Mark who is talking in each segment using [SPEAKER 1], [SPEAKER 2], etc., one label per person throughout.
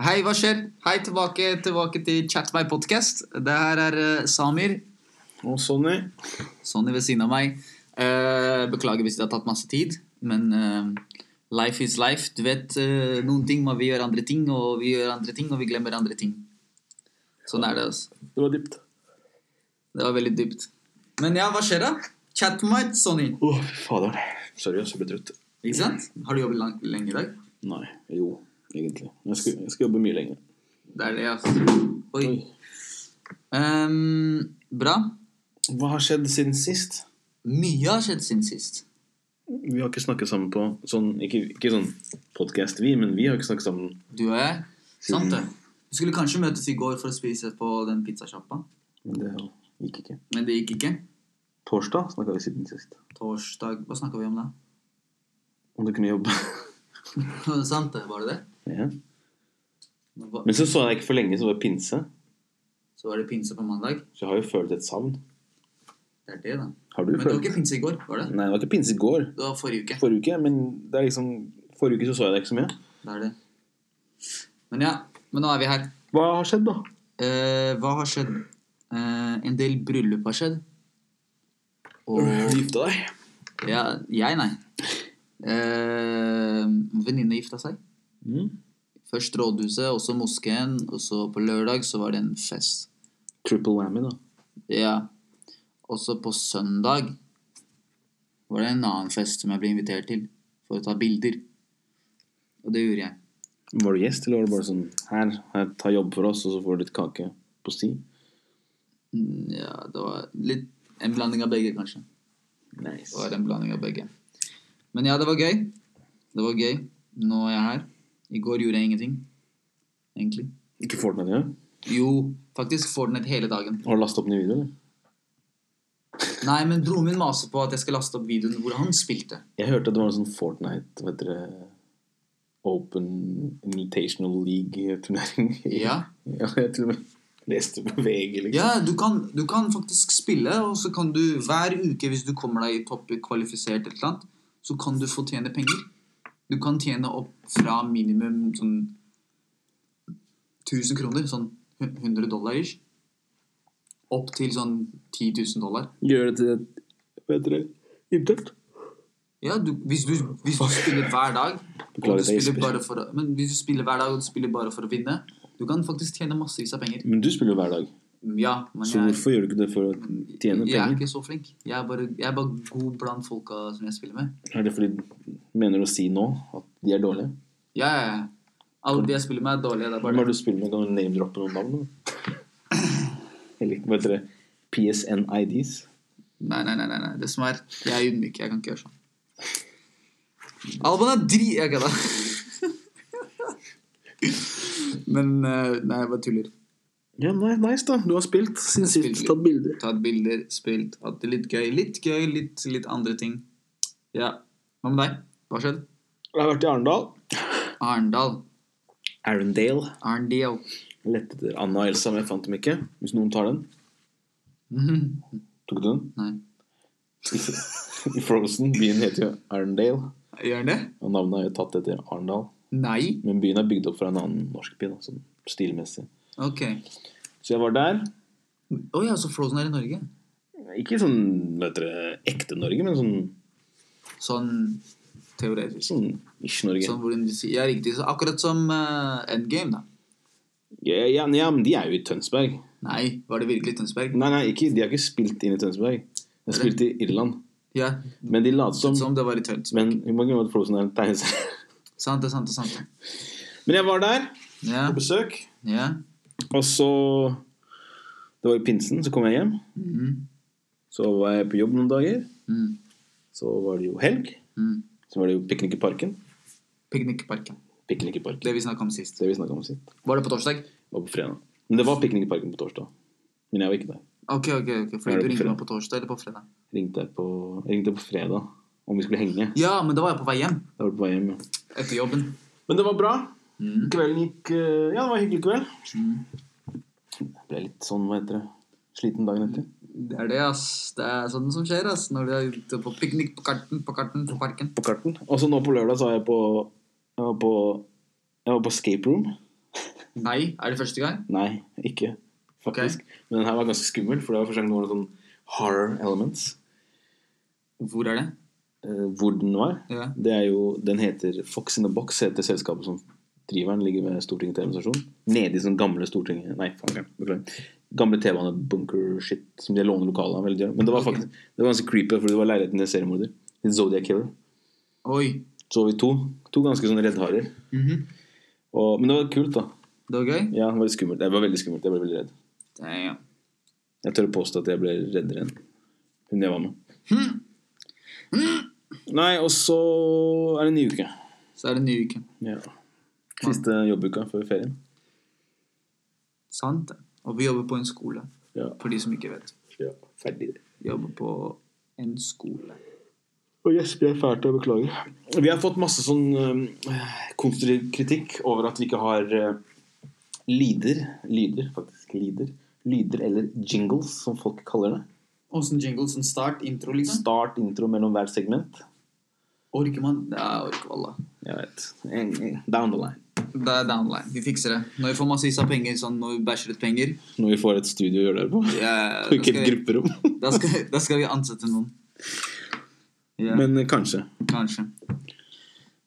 [SPEAKER 1] Hei, hva skjer? Hei, tilbake, tilbake til Chat my podcast. Det her er eh, Samir.
[SPEAKER 2] Og Sonny.
[SPEAKER 1] Sonny ved siden av meg. Eh, beklager hvis det har tatt masse tid, men eh, life is life. Du vet, eh, noen ting må vi gjøre andre ting, og vi gjør andre ting, og vi glemmer andre ting. Sånn er det, altså.
[SPEAKER 2] Det var dypt.
[SPEAKER 1] Det var veldig dypt. Men ja, hva skjer da? Chat my, Sonny.
[SPEAKER 2] Å, fy fader. Sorry, jeg ble trøtt.
[SPEAKER 1] Ikke sant? Har du jobbet lang- lenge i dag?
[SPEAKER 2] Nei. Jo, egentlig. Jeg skal, jeg skal jobbe mye lenger.
[SPEAKER 1] Det er det, altså. Oi. Ehm, bra.
[SPEAKER 2] Hva har skjedd siden sist?
[SPEAKER 1] Mye har skjedd siden sist.
[SPEAKER 2] Vi har ikke snakket sammen på sånn Ikke, ikke sånn podkast, vi, men vi har ikke snakket sammen.
[SPEAKER 1] Du og jeg. Sant det.
[SPEAKER 2] Siden-
[SPEAKER 1] Vi skulle kanskje møtes i går for å spise på den pizzasjappa,
[SPEAKER 2] Men det gikk ikke.
[SPEAKER 1] men det gikk ikke.
[SPEAKER 2] Torsdag snakka vi siden sist.
[SPEAKER 1] Torsdag Hva snakka vi om da?
[SPEAKER 2] Om du kunne jobbe.
[SPEAKER 1] Sant det, var det det?
[SPEAKER 2] ja.
[SPEAKER 1] Men hva-
[SPEAKER 2] Men så så jeg ikke for lenge, så det var pinse.
[SPEAKER 1] Så var det pinse på mandag.
[SPEAKER 2] Så jeg har jo følt et savn.
[SPEAKER 1] Det er det, da.
[SPEAKER 2] Har du
[SPEAKER 1] Men det var
[SPEAKER 2] følt
[SPEAKER 1] ikke pinse i går, var det?
[SPEAKER 2] Nei, det var ikke pinse i går.
[SPEAKER 1] Det var forrige uke.
[SPEAKER 2] Forrige uke, men det er liksom Forrige uke så så jeg deg ikke så mye.
[SPEAKER 1] Det er det. Men ja. Men nå er vi her.
[SPEAKER 2] Hva har skjedd, da?
[SPEAKER 1] Eh, hva har skjedd? Eh, en del bryllup har skjedd.
[SPEAKER 2] Du
[SPEAKER 1] Og
[SPEAKER 2] gifta deg.
[SPEAKER 1] ja, Jeg, nei. Eh, Venninne gifta seg.
[SPEAKER 2] Mm.
[SPEAKER 1] Først rådhuset, og så moskeen, og så på lørdag så var det en fest.
[SPEAKER 2] Triple whammy, da.
[SPEAKER 1] Ja. Og så på søndag var det en annen fest som jeg ble invitert til for å ta bilder. Og det gjorde jeg.
[SPEAKER 2] Var du gjest, eller var det bare sånn Her, her ta jobb for oss, og så får du litt kake på sti?
[SPEAKER 1] Mm, Ja, det var litt en blanding av begge, kanskje. Det
[SPEAKER 2] Nice.
[SPEAKER 1] var en blanding av begge. Men ja, det var gøy. Det var gøy. Nå er jeg her. I går gjorde jeg ingenting, egentlig.
[SPEAKER 2] Ikke Fortnite engang?
[SPEAKER 1] Jo, faktisk Fortnite hele dagen.
[SPEAKER 2] Har du lasta opp ny video, eller?
[SPEAKER 1] Nei, men broren min maser på at jeg skal laste opp videoen hvor han spilte.
[SPEAKER 2] Jeg hørte at det var en sånn Fortnite Hva heter det Open Invitational League-turnering.
[SPEAKER 1] Ja.
[SPEAKER 2] ja. Jeg til og med leste på VG, liksom.
[SPEAKER 1] Ja, du kan, du kan faktisk spille, og så kan du hver uke, hvis du kommer deg i topp kvalifisert eller noe, så kan du få tjene penger. Du kan tjene opp fra minimum sånn 1000 kroner, sånn 100 dollar ish, opp til sånn 10 000 dollar.
[SPEAKER 2] Gjør det til et Hva heter det? Inntekt?
[SPEAKER 1] Ja, du, hvis, du, hvis du spiller hver dag og du
[SPEAKER 2] Beklager, jeg
[SPEAKER 1] spiller
[SPEAKER 2] gjesper.
[SPEAKER 1] bare for, å- Men hvis du spiller hver dag og du spiller bare for å vinne, du kan faktisk tjene massevis av penger.
[SPEAKER 2] Men du spiller jo hver dag,
[SPEAKER 1] Ja, men
[SPEAKER 2] så
[SPEAKER 1] jeg
[SPEAKER 2] hvorfor gjør du ikke det for å tjene
[SPEAKER 1] Jeg er
[SPEAKER 2] penger?
[SPEAKER 1] ikke så flink. Jeg er bare, jeg er bare god blant folka som jeg spiller med.
[SPEAKER 2] Er det fordi Mener du å si nå at de er dårlige?
[SPEAKER 1] Ja, ja, ja. Alle de jeg spiller med, er dårlige. Det er
[SPEAKER 2] Hvem
[SPEAKER 1] bare
[SPEAKER 2] er det du spiller med? Kan du name-droppe noen navn? da? Eller hva heter det? PSN-IDs?
[SPEAKER 1] Nei, nei, nei, nei, nei. Det som er Jeg er ydmyk. Jeg kan ikke gjøre sånn. Alban er dri... Jeg kødda. Men eh, Nei, jeg bare tuller.
[SPEAKER 2] Ja, nei, nice, da. Du har spilt siden
[SPEAKER 1] Jeg spiller.
[SPEAKER 2] bilder.
[SPEAKER 1] Tatt bilder, spilt, hatt det litt gøy. Litt gøy, litt, litt andre ting. Ja. Hva med deg? Hva skjedde?
[SPEAKER 2] Jeg har vært i Arendal.
[SPEAKER 1] Arendal.
[SPEAKER 2] Arendale.
[SPEAKER 1] Arendal.
[SPEAKER 2] Jeg lette etter Anna og Elsa, men jeg fant dem ikke. Hvis noen tar den.
[SPEAKER 1] Mhm.
[SPEAKER 2] Tok du den?
[SPEAKER 1] Nei.
[SPEAKER 2] I Frozen. Byen heter jo Arendale.
[SPEAKER 1] Gjør den det?
[SPEAKER 2] Og navnet er jo tatt etter Arendal.
[SPEAKER 1] Nei?
[SPEAKER 2] Men byen er bygd opp fra en annen norsk by, da, sånn stilmessig.
[SPEAKER 1] Ok.
[SPEAKER 2] Så jeg var der.
[SPEAKER 1] Å ja, så Frozen er i Norge?
[SPEAKER 2] Ikke sånn hva heter det, ekte Norge, men sånn,
[SPEAKER 1] Sånn teoretisk.
[SPEAKER 2] sånn ish-Norge.
[SPEAKER 1] Sånn hvordan de sier Ja, riktig. Så akkurat som eh, Endgame, da.
[SPEAKER 2] Ja, ja, ja, men de er jo i Tønsberg.
[SPEAKER 1] Nei, var det virkelig Tønsberg?
[SPEAKER 2] Nei, nei, ikke, de har ikke spilt inn i Tønsberg. De har spilt i Irland.
[SPEAKER 1] Ja,
[SPEAKER 2] Men de later som
[SPEAKER 1] som det var i Tønsberg.
[SPEAKER 2] Men vi må ikke glemme at Frozen er en tegneserie.
[SPEAKER 1] Sant det, sant det, sant det.
[SPEAKER 2] Men jeg var der
[SPEAKER 1] Ja,
[SPEAKER 2] på besøk,
[SPEAKER 1] ja.
[SPEAKER 2] og så Det var i pinsen, så kom jeg hjem.
[SPEAKER 1] Mm,
[SPEAKER 2] Så var jeg på jobb noen dager.
[SPEAKER 1] mm,
[SPEAKER 2] Så var det jo helg.
[SPEAKER 1] mm.
[SPEAKER 2] Så var det jo piknik i parken.
[SPEAKER 1] Piknikparken.
[SPEAKER 2] Piknik i parken.
[SPEAKER 1] Det vi snakka om sist.
[SPEAKER 2] Det vi snakket om sist.
[SPEAKER 1] Var det på torsdag?
[SPEAKER 2] Det var på fredag. Men det var piknik i parken på torsdag. Men jeg var ikke der.
[SPEAKER 1] Ok, ok. ok
[SPEAKER 2] Er
[SPEAKER 1] Fordi du
[SPEAKER 2] det på
[SPEAKER 1] ringte
[SPEAKER 2] fredag?
[SPEAKER 1] meg på torsdag eller på fredag?
[SPEAKER 2] Jeg ringte deg på, jeg ringte deg på fredag om vi skulle henge.
[SPEAKER 1] Ja, men da var jeg på vei hjem.
[SPEAKER 2] Da var du på vei hjem, ja.
[SPEAKER 1] Etter jobben.
[SPEAKER 2] Men det var bra.
[SPEAKER 1] Mm.
[SPEAKER 2] Kvelden gikk eh, Ja, det var en hyggelig kveld.
[SPEAKER 1] Mm.
[SPEAKER 2] Jeg ble litt sånn, hva heter det, sliten dagen etter.
[SPEAKER 1] Det er det, ass. Det er sånn som skjer, ass. Når du er ute på piknik på karten, på karten, på parken.
[SPEAKER 2] Altså, På karten. Og så nå på lørdag så var jeg på Jeg var på, jeg var på escape room.
[SPEAKER 1] Nei, er det første gang?
[SPEAKER 2] Nei, ikke. Faktisk. Men den her var ganske skummel, for det var første gang det var noen sånn horror elements.
[SPEAKER 1] Hvor er det?
[SPEAKER 2] Eh, hvor den var.
[SPEAKER 1] Ja.
[SPEAKER 2] Det er jo, den heter Fox in the Box, heter selskapet som driver den. Ligger ved Stortinget TV-stasjon. Nede i sånn gamle Stortinget Nei, faen, beklager. Gamle T-bane-bunker-shit som de låner lokalet av. veldig gjerne. Men det var
[SPEAKER 1] Ok.
[SPEAKER 2] faktisk Det var ganske creepy, for det var leiligheten til seriemorder. En Zodiac Killer.
[SPEAKER 1] Oi.
[SPEAKER 2] Så vi to. To ganske sånne reddharer.
[SPEAKER 1] Mhm.
[SPEAKER 2] Og, men det var kult, da.
[SPEAKER 1] Det var gøy?
[SPEAKER 2] Ja, det var litt skummelt. Det var veldig skummelt. Jeg ble veldig redd.
[SPEAKER 1] Nei, ja.
[SPEAKER 2] Jeg tør å påstå at jeg ble reddere enn hun jeg var med. Nei, og så er det en ny uke.
[SPEAKER 1] Så er det en ny uke.
[SPEAKER 2] Ja. Siste jobbuka før ferien.
[SPEAKER 1] Sant det. Og vi jobber på en skole,
[SPEAKER 2] Ja.
[SPEAKER 1] for de som ikke vet.
[SPEAKER 2] Ferdig.
[SPEAKER 1] Jobber på en skole.
[SPEAKER 2] Og gjesper er fælt, jeg beklager. Vi har fått masse sånn eh, konstruktiv kritikk over at vi ikke har eh, lyder Lyder, faktisk. Lyder. Lyder eller jingles, som folk kaller det.
[SPEAKER 1] Åssen jingle? Sånn start, intro, liksom?
[SPEAKER 2] Start intro mellom hvert segment.
[SPEAKER 1] Orker man? Nei, jeg orker valla.
[SPEAKER 2] Jeg vet. En- en- Down the line.
[SPEAKER 1] Det er downline. Vi fikser det. Når vi får masse av penger, sånn når vi bæsjer ut penger
[SPEAKER 2] Når vi får et studio å gjøre det på.
[SPEAKER 1] ja,
[SPEAKER 2] Og
[SPEAKER 1] da,
[SPEAKER 2] ikke
[SPEAKER 1] skal
[SPEAKER 2] et
[SPEAKER 1] vi,
[SPEAKER 2] grupperom.
[SPEAKER 1] da, skal, da skal vi ansette noen. Ja,
[SPEAKER 2] Men eh, kanskje.
[SPEAKER 1] kanskje.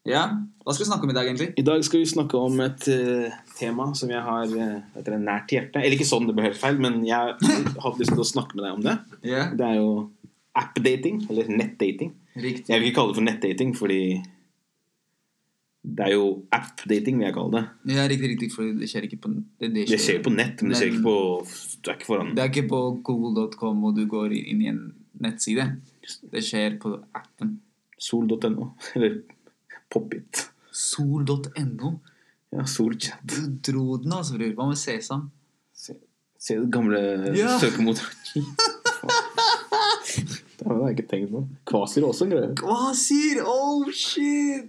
[SPEAKER 1] Ja, hva skal vi snakke om i dag, egentlig?
[SPEAKER 2] I dag skal vi snakke om et eh, tema som jeg har eh, vet dere, nært til hjertet. Eller ikke sånn, det ble helt feil, men jeg hadde lyst til å snakke med deg om det.
[SPEAKER 1] Ja,
[SPEAKER 2] Det er jo app-dating, eller nettdating.
[SPEAKER 1] riktig.
[SPEAKER 2] Jeg vil ikke kalle det for nettdating, fordi det er jo app-dating, vil jeg kalle det.
[SPEAKER 1] Ja, riktig, riktig, for det skjer ikke på Det, det
[SPEAKER 2] Det skjer jo på nett, men det skjer ikke på Du er ikke foran
[SPEAKER 1] Det er ikke på google.com og du går inn i en nettside. Det skjer på appen.
[SPEAKER 2] sol.no, eller Popit.
[SPEAKER 1] Sol.no.
[SPEAKER 2] Ja, Solchat.
[SPEAKER 1] Du dro den, altså, bror. Hva med Sesam?
[SPEAKER 2] Se, se det gamle
[SPEAKER 1] Ja.
[SPEAKER 2] søkemotoret. det har jeg ikke tenkt på. Kvasir er også en greie.
[SPEAKER 1] Kvasir! Oh, shit!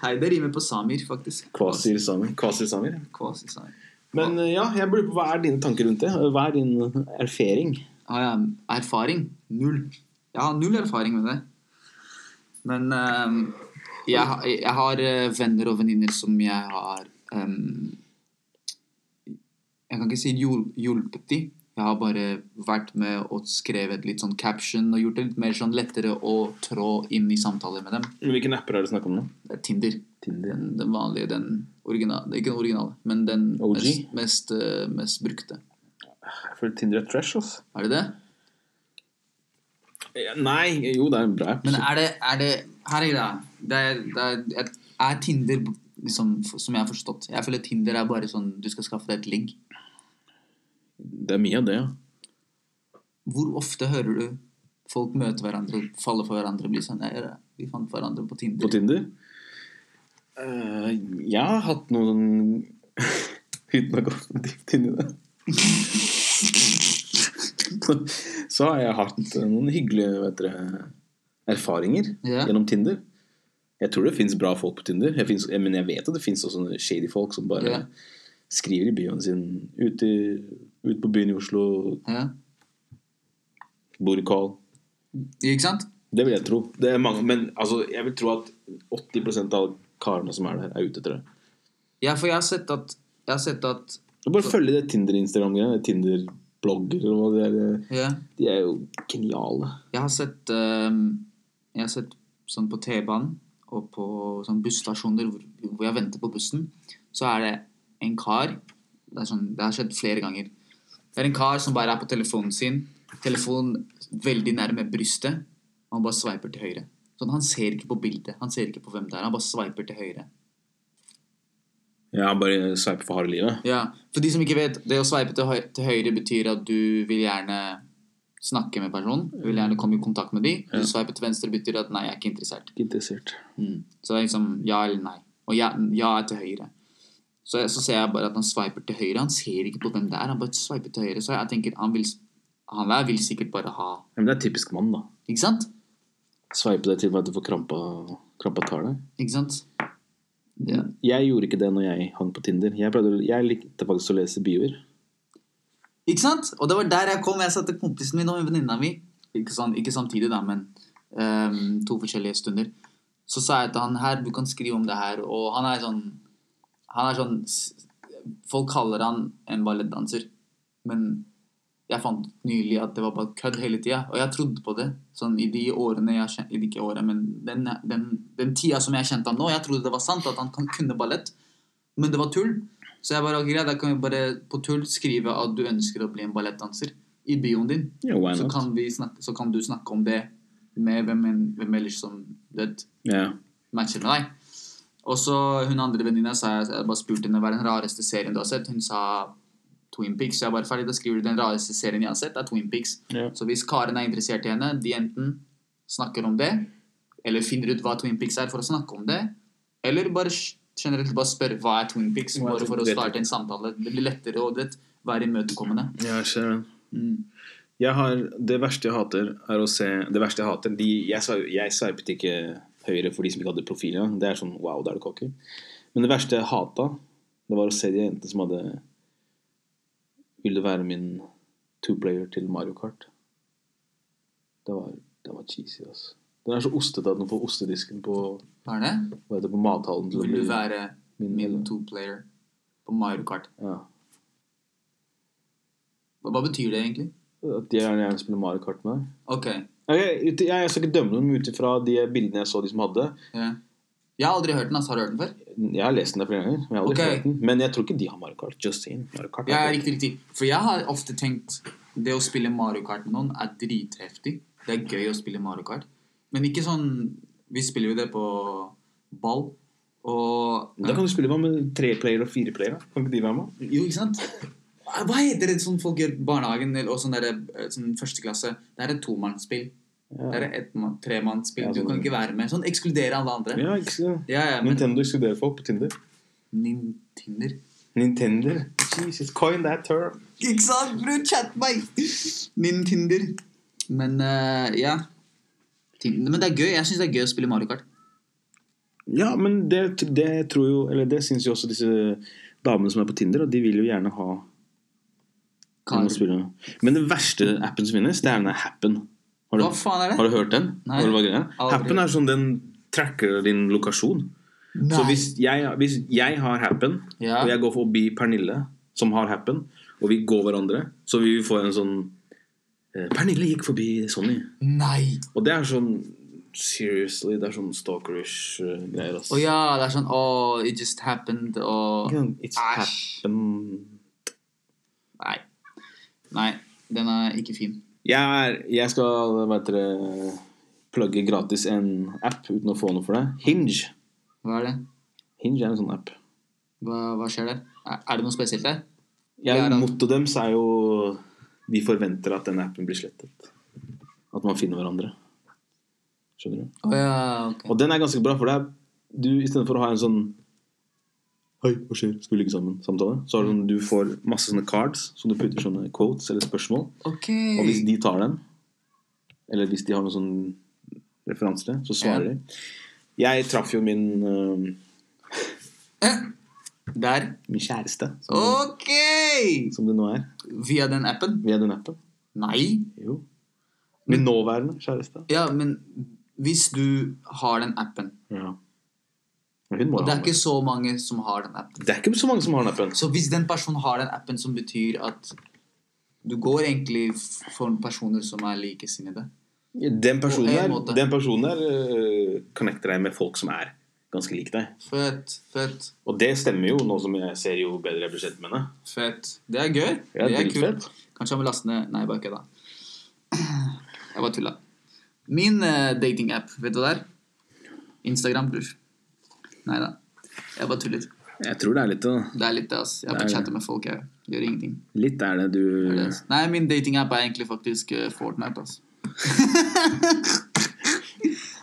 [SPEAKER 1] Hei, det rimer på samir, faktisk.
[SPEAKER 2] Kvasir Samir. Kvasir Samir.
[SPEAKER 1] Kvasir samir.
[SPEAKER 2] Men eh, ja, jeg lurer på hva er dine tanker rundt det? Hva er din erfaring?
[SPEAKER 1] Har jeg erfaring? Null. Jeg har null erfaring med det. Men ehm, jeg, ha- jeg har eh, venner og venninner som jeg har ehm, Jeg kan ikke si hjul, hjulpet de. Jeg har bare vært med og skrevet litt sånn caption og gjort det litt mer sånn lettere å trå inn i samtaler med dem.
[SPEAKER 2] Hvilken apper er det snakk om nå?
[SPEAKER 1] Det er Tinder.
[SPEAKER 2] Tinder.
[SPEAKER 1] Den, den vanlige, den originale Ikke den originale, men den
[SPEAKER 2] OG?
[SPEAKER 1] mest, mest, eh, mest brukte.
[SPEAKER 2] Jeg føler Tinder er trash, ass.
[SPEAKER 1] Er det det?
[SPEAKER 2] Eh, Nei, jo, det er en bra app.
[SPEAKER 1] Men er det, er det Her er greia. Det er, det er, er Tinder liksom, f- Som jeg har forstått Jeg føler Tinder er bare sånn Du skal skaffe deg et ligg.
[SPEAKER 2] Det er mye av det, ja.
[SPEAKER 1] Hvor ofte hører du folk møte hverandre, falle for hverandre, bli sånn «Nei, Vi fant hverandre på Tinder.
[SPEAKER 2] På Tinder? Eh, jeg har hatt noen Uten å gå for dypt inn i det. Så har jeg hatt noen hyggelige vet dere, erfaringer
[SPEAKER 1] Ja.
[SPEAKER 2] gjennom Tinder. Jeg tror det fins bra folk på Tinder, jeg finnes, men jeg vet at det fins også sånne shady folk som bare
[SPEAKER 1] Ja.
[SPEAKER 2] skriver i bioen sin ute, ute på byen i Oslo,
[SPEAKER 1] Ja.
[SPEAKER 2] bor i Carl.
[SPEAKER 1] Ikke sant?
[SPEAKER 2] Det vil jeg tro. Det er mange, men altså, jeg vil tro at 80 av karene som er der, er ute etter det.
[SPEAKER 1] Ja, for jeg har sett at Jeg har sett at
[SPEAKER 2] Og bare følge det Tinder-Instagram-greiene. Tinder-blogger og hva det er.
[SPEAKER 1] ja,
[SPEAKER 2] De er jo geniale.
[SPEAKER 1] Jeg har sett ehm, Jeg har sett sånn på T-banen og på sånn busstasjoner hvor, hvor jeg venter på bussen, så er det en kar Det, er sånn, det har skjedd flere ganger. Det er en kar som bare er på telefonen sin. Telefonen veldig nærme brystet. Og han bare sveiper til høyre. Sånn, Han ser ikke på bildet. Han ser ikke på hvem det er. Han bare sveiper til høyre.
[SPEAKER 2] Ja, bare sveipe for harde livet.
[SPEAKER 1] Ja, For de som ikke vet, det å sveipe til, høy til høyre betyr at du vil gjerne snakke med personen. Du vil gjerne komme i kontakt med dem. Du sveiper til venstre betyr at nei, jeg er ikke interessert.
[SPEAKER 2] Ikke interessert.
[SPEAKER 1] Mm. Så det er liksom ja eller nei. Og ja, ja er til høyre. Så, så ser jeg bare at han sveiper til høyre. Han ser ikke på hvem det er. Han bare sveiper til høyre. Så jeg tenker han, vil, han der vil sikkert bare ha
[SPEAKER 2] Ja, men det er typisk mann, da.
[SPEAKER 1] Ikke sant?
[SPEAKER 2] Sveipe deg til for at du får krampa, krampa tar deg.
[SPEAKER 1] Ikke sant? Det.
[SPEAKER 2] Jeg gjorde ikke det når jeg hang på Tinder. Jeg, pleide, å- jeg likte faktisk å lese bioer.
[SPEAKER 1] Ikke sant? Og det var der jeg kom. Jeg satte kompisen min og venninna mi ikke, sånn, ikke samtidig, da, men ehm, to forskjellige stunder. Så sa jeg til han her, du kan skrive om det her. Og han er sånn Han er sånn s- Folk kaller han en ballettdanser, men jeg fant ut nylig at det var bare kødd hele tida. Og jeg trodde på det. Sånn i de årene jeg kjen- i de ikke årene, men den, den, den tida som jeg kjente ham nå, jeg trodde det var sant at han kan kunne ballett, men det var tull. Så jeg bare, ok, greit, da kan vi bare på tull skrive at du ønsker å bli en ballettdanser i bioen din.
[SPEAKER 2] Ja, why
[SPEAKER 1] Så
[SPEAKER 2] not?
[SPEAKER 1] kan, vi snakke, så kan du snakke om det med hvem, en- hvem ellers som du vet,
[SPEAKER 2] Ja.
[SPEAKER 1] matcher med deg. Og så hun andre venninna sa jeg bare spurte henne hva er den rareste serien du har sett. Hun sa Twin Peaks. Så jeg bare ferdig, da skriver du den rareste serien jeg har sett, er Twin Peaks.
[SPEAKER 2] Ja.
[SPEAKER 1] Så hvis Karen er interessert i henne, de enten snakker om det, eller finner ut hva Twin Peaks er for å snakke om det, eller bare sj- generelt bare spørre hva er Twin Peaks,
[SPEAKER 2] Hva er
[SPEAKER 1] bare
[SPEAKER 2] Twin
[SPEAKER 1] for å
[SPEAKER 2] Peaks?
[SPEAKER 1] starte en samtale. Det blir lettere å du vet, være imøtekommende.
[SPEAKER 2] Ja, jeg ser den.
[SPEAKER 1] Mm.
[SPEAKER 2] Jeg har, det verste jeg hater, er å se Det verste jeg hater de, Jeg, swi- jeg sveipet ikke høyre for de som ikke hadde profil engang. Det er sånn wow, da er du cocky. Men det verste jeg hata, det var å se de jentene som hadde Vil du være min two-player til Mario Kart? Det var, det var cheesy, altså. Den er så ostete at den får ostedisken på,
[SPEAKER 1] Hva er det?
[SPEAKER 2] hva heter det, på mathallen til å
[SPEAKER 1] Vil du
[SPEAKER 2] bli-
[SPEAKER 1] være
[SPEAKER 2] min-
[SPEAKER 1] min two-player på Mario Kart?
[SPEAKER 2] Ja.
[SPEAKER 1] Hva hva betyr det egentlig?
[SPEAKER 2] At jeg gjerne gjerne spiller Mario Kart med deg.
[SPEAKER 1] Ok, eh,
[SPEAKER 2] Ok, ut- Jeg, jeg skal ikke dømme dem ut ifra de bildene jeg så de som hadde.
[SPEAKER 1] Ja. Jeg har aldri hørt den. altså Har du hørt den før?
[SPEAKER 2] Jeg har lest den der flere ganger. Men jeg, har aldri
[SPEAKER 1] Ok.
[SPEAKER 2] hørt den. men jeg tror ikke de har Mario Kart. Just saying. Mario Kart er
[SPEAKER 1] Ja,
[SPEAKER 2] bra.
[SPEAKER 1] riktig, riktig. For jeg har ofte tenkt det å spille Mario Kart med noen er dritheftig. Det er gøy å spille Mario Kart. Men ikke sånn Vi spiller jo det på ball. Og
[SPEAKER 2] Da kan du spille hva med tre player og fire player. da? Kan ikke de være med?
[SPEAKER 1] Jo, ikke sant? Hva heter det sånn folk gjør i barnehagen eller- og sånn, der, eh, sånn førsteklasse? Det er et tomannsspill.
[SPEAKER 2] Ja.
[SPEAKER 1] Det er et man- tremannsspill.
[SPEAKER 2] Ja,
[SPEAKER 1] Du kan
[SPEAKER 2] sånn.
[SPEAKER 1] ikke være med. Sånn ekskludere alle andre.
[SPEAKER 2] Ja, ikke så.
[SPEAKER 1] Ja, ja, men
[SPEAKER 2] Nintendo ekskluderer folk på Tinder.
[SPEAKER 1] Nintendo
[SPEAKER 2] Nintendo. Jesus, coin that term.
[SPEAKER 1] Ikke sant, bro? Chat meg! Min Tinder. Men eh, ja. Tinder. Men det er gøy. Jeg syns det er gøy å spille Mario Kart.
[SPEAKER 2] Ja, men det, det tror jo Eller det syns jo også disse damene som er på Tinder, og de vil jo gjerne ha
[SPEAKER 1] Kar.
[SPEAKER 2] noen å spille med. Men den verste appen som finnes, det er denne Happen. Har du,
[SPEAKER 1] Hva faen er det?
[SPEAKER 2] har du hørt den?
[SPEAKER 1] Nei.
[SPEAKER 2] Har du hva greia?
[SPEAKER 1] Aldri.
[SPEAKER 2] Happen er sånn den tracker din lokasjon. Så hvis jeg, hvis jeg har Happen,
[SPEAKER 1] Ja.
[SPEAKER 2] og jeg går forbi Pernille, som har Happen, og vi går hverandre, så vi får en sånn eh, Pernille gikk forbi Sonny.
[SPEAKER 1] Nei!
[SPEAKER 2] Og det er sånn Seriously, det er sånn stalkerish eh, greier, ass.
[SPEAKER 1] Å ja, det er sånn Oh, it just happened, og
[SPEAKER 2] It's
[SPEAKER 1] Æsj.
[SPEAKER 2] happen
[SPEAKER 1] Nei. Nei. Den er ikke fin.
[SPEAKER 2] Jeg, er, jeg skal, hva heter det Plugge gratis en app uten å få noe for det. Hinge.
[SPEAKER 1] Hva er det?
[SPEAKER 2] Hinge er en sånn app.
[SPEAKER 1] Hva, hva skjer der? Er, er det noe spesielt der?
[SPEAKER 2] Ja,
[SPEAKER 1] Det er at-
[SPEAKER 2] Mottoet deres er jo De forventer at den appen blir slettet. At man finner hverandre. Skjønner du?
[SPEAKER 1] Å ja, ok.
[SPEAKER 2] Og den er ganske bra, for det er du istedenfor å ha en sånn Hei, hva skjer? Skal vi ligge sammen-samtale? Så har du, sånn, du får masse sånne cards som du putter sånne quotes eller spørsmål.
[SPEAKER 1] Ok.
[SPEAKER 2] Og hvis de tar den, eller hvis de har noen sånn referanser til det, så svarer
[SPEAKER 1] Ja.
[SPEAKER 2] de. Jeg traff jo min, øh,
[SPEAKER 1] Der.
[SPEAKER 2] min kjæreste, som,
[SPEAKER 1] Ok!
[SPEAKER 2] som det nå er,
[SPEAKER 1] Via den appen?
[SPEAKER 2] via den appen.
[SPEAKER 1] Nei.
[SPEAKER 2] Jo. Min nåværende kjæreste.
[SPEAKER 1] Ja, men hvis du har den appen
[SPEAKER 2] Ja. Men Hun må
[SPEAKER 1] Og det
[SPEAKER 2] ha
[SPEAKER 1] er ikke
[SPEAKER 2] den.
[SPEAKER 1] så mange som har den appen.
[SPEAKER 2] Det er ikke så mange som har den appen.
[SPEAKER 1] Så hvis den personen har den appen som betyr at du går egentlig f- for personer som er likesinnede.
[SPEAKER 2] Den personen
[SPEAKER 1] På en
[SPEAKER 2] der,
[SPEAKER 1] måte.
[SPEAKER 2] den personen der øh, connecter deg med folk som er ganske lik deg.
[SPEAKER 1] Fett, fett,
[SPEAKER 2] Og det stemmer jo, nå som jeg ser jo bedre jeg blir kjent med henne.
[SPEAKER 1] fett. Det er gøy.
[SPEAKER 2] Ja,
[SPEAKER 1] det er
[SPEAKER 2] dritfett.
[SPEAKER 1] kult. Kanskje han vil laste ned Nei, bare kødda. Jeg bare tulla. Min eh, datingapp, vet du hva det er? Instagram, bror. Nei da. Jeg bare tuller.
[SPEAKER 2] Jeg tror det er litt da.
[SPEAKER 1] Det er litt det, ass. Jeg
[SPEAKER 2] Det er
[SPEAKER 1] bare
[SPEAKER 2] det.
[SPEAKER 1] chatter med folk, jeg. Gjør ingenting.
[SPEAKER 2] Litt er det du
[SPEAKER 1] Det er det, ass. Nei, min datingapp er egentlig faktisk eh, Fortnite, ass.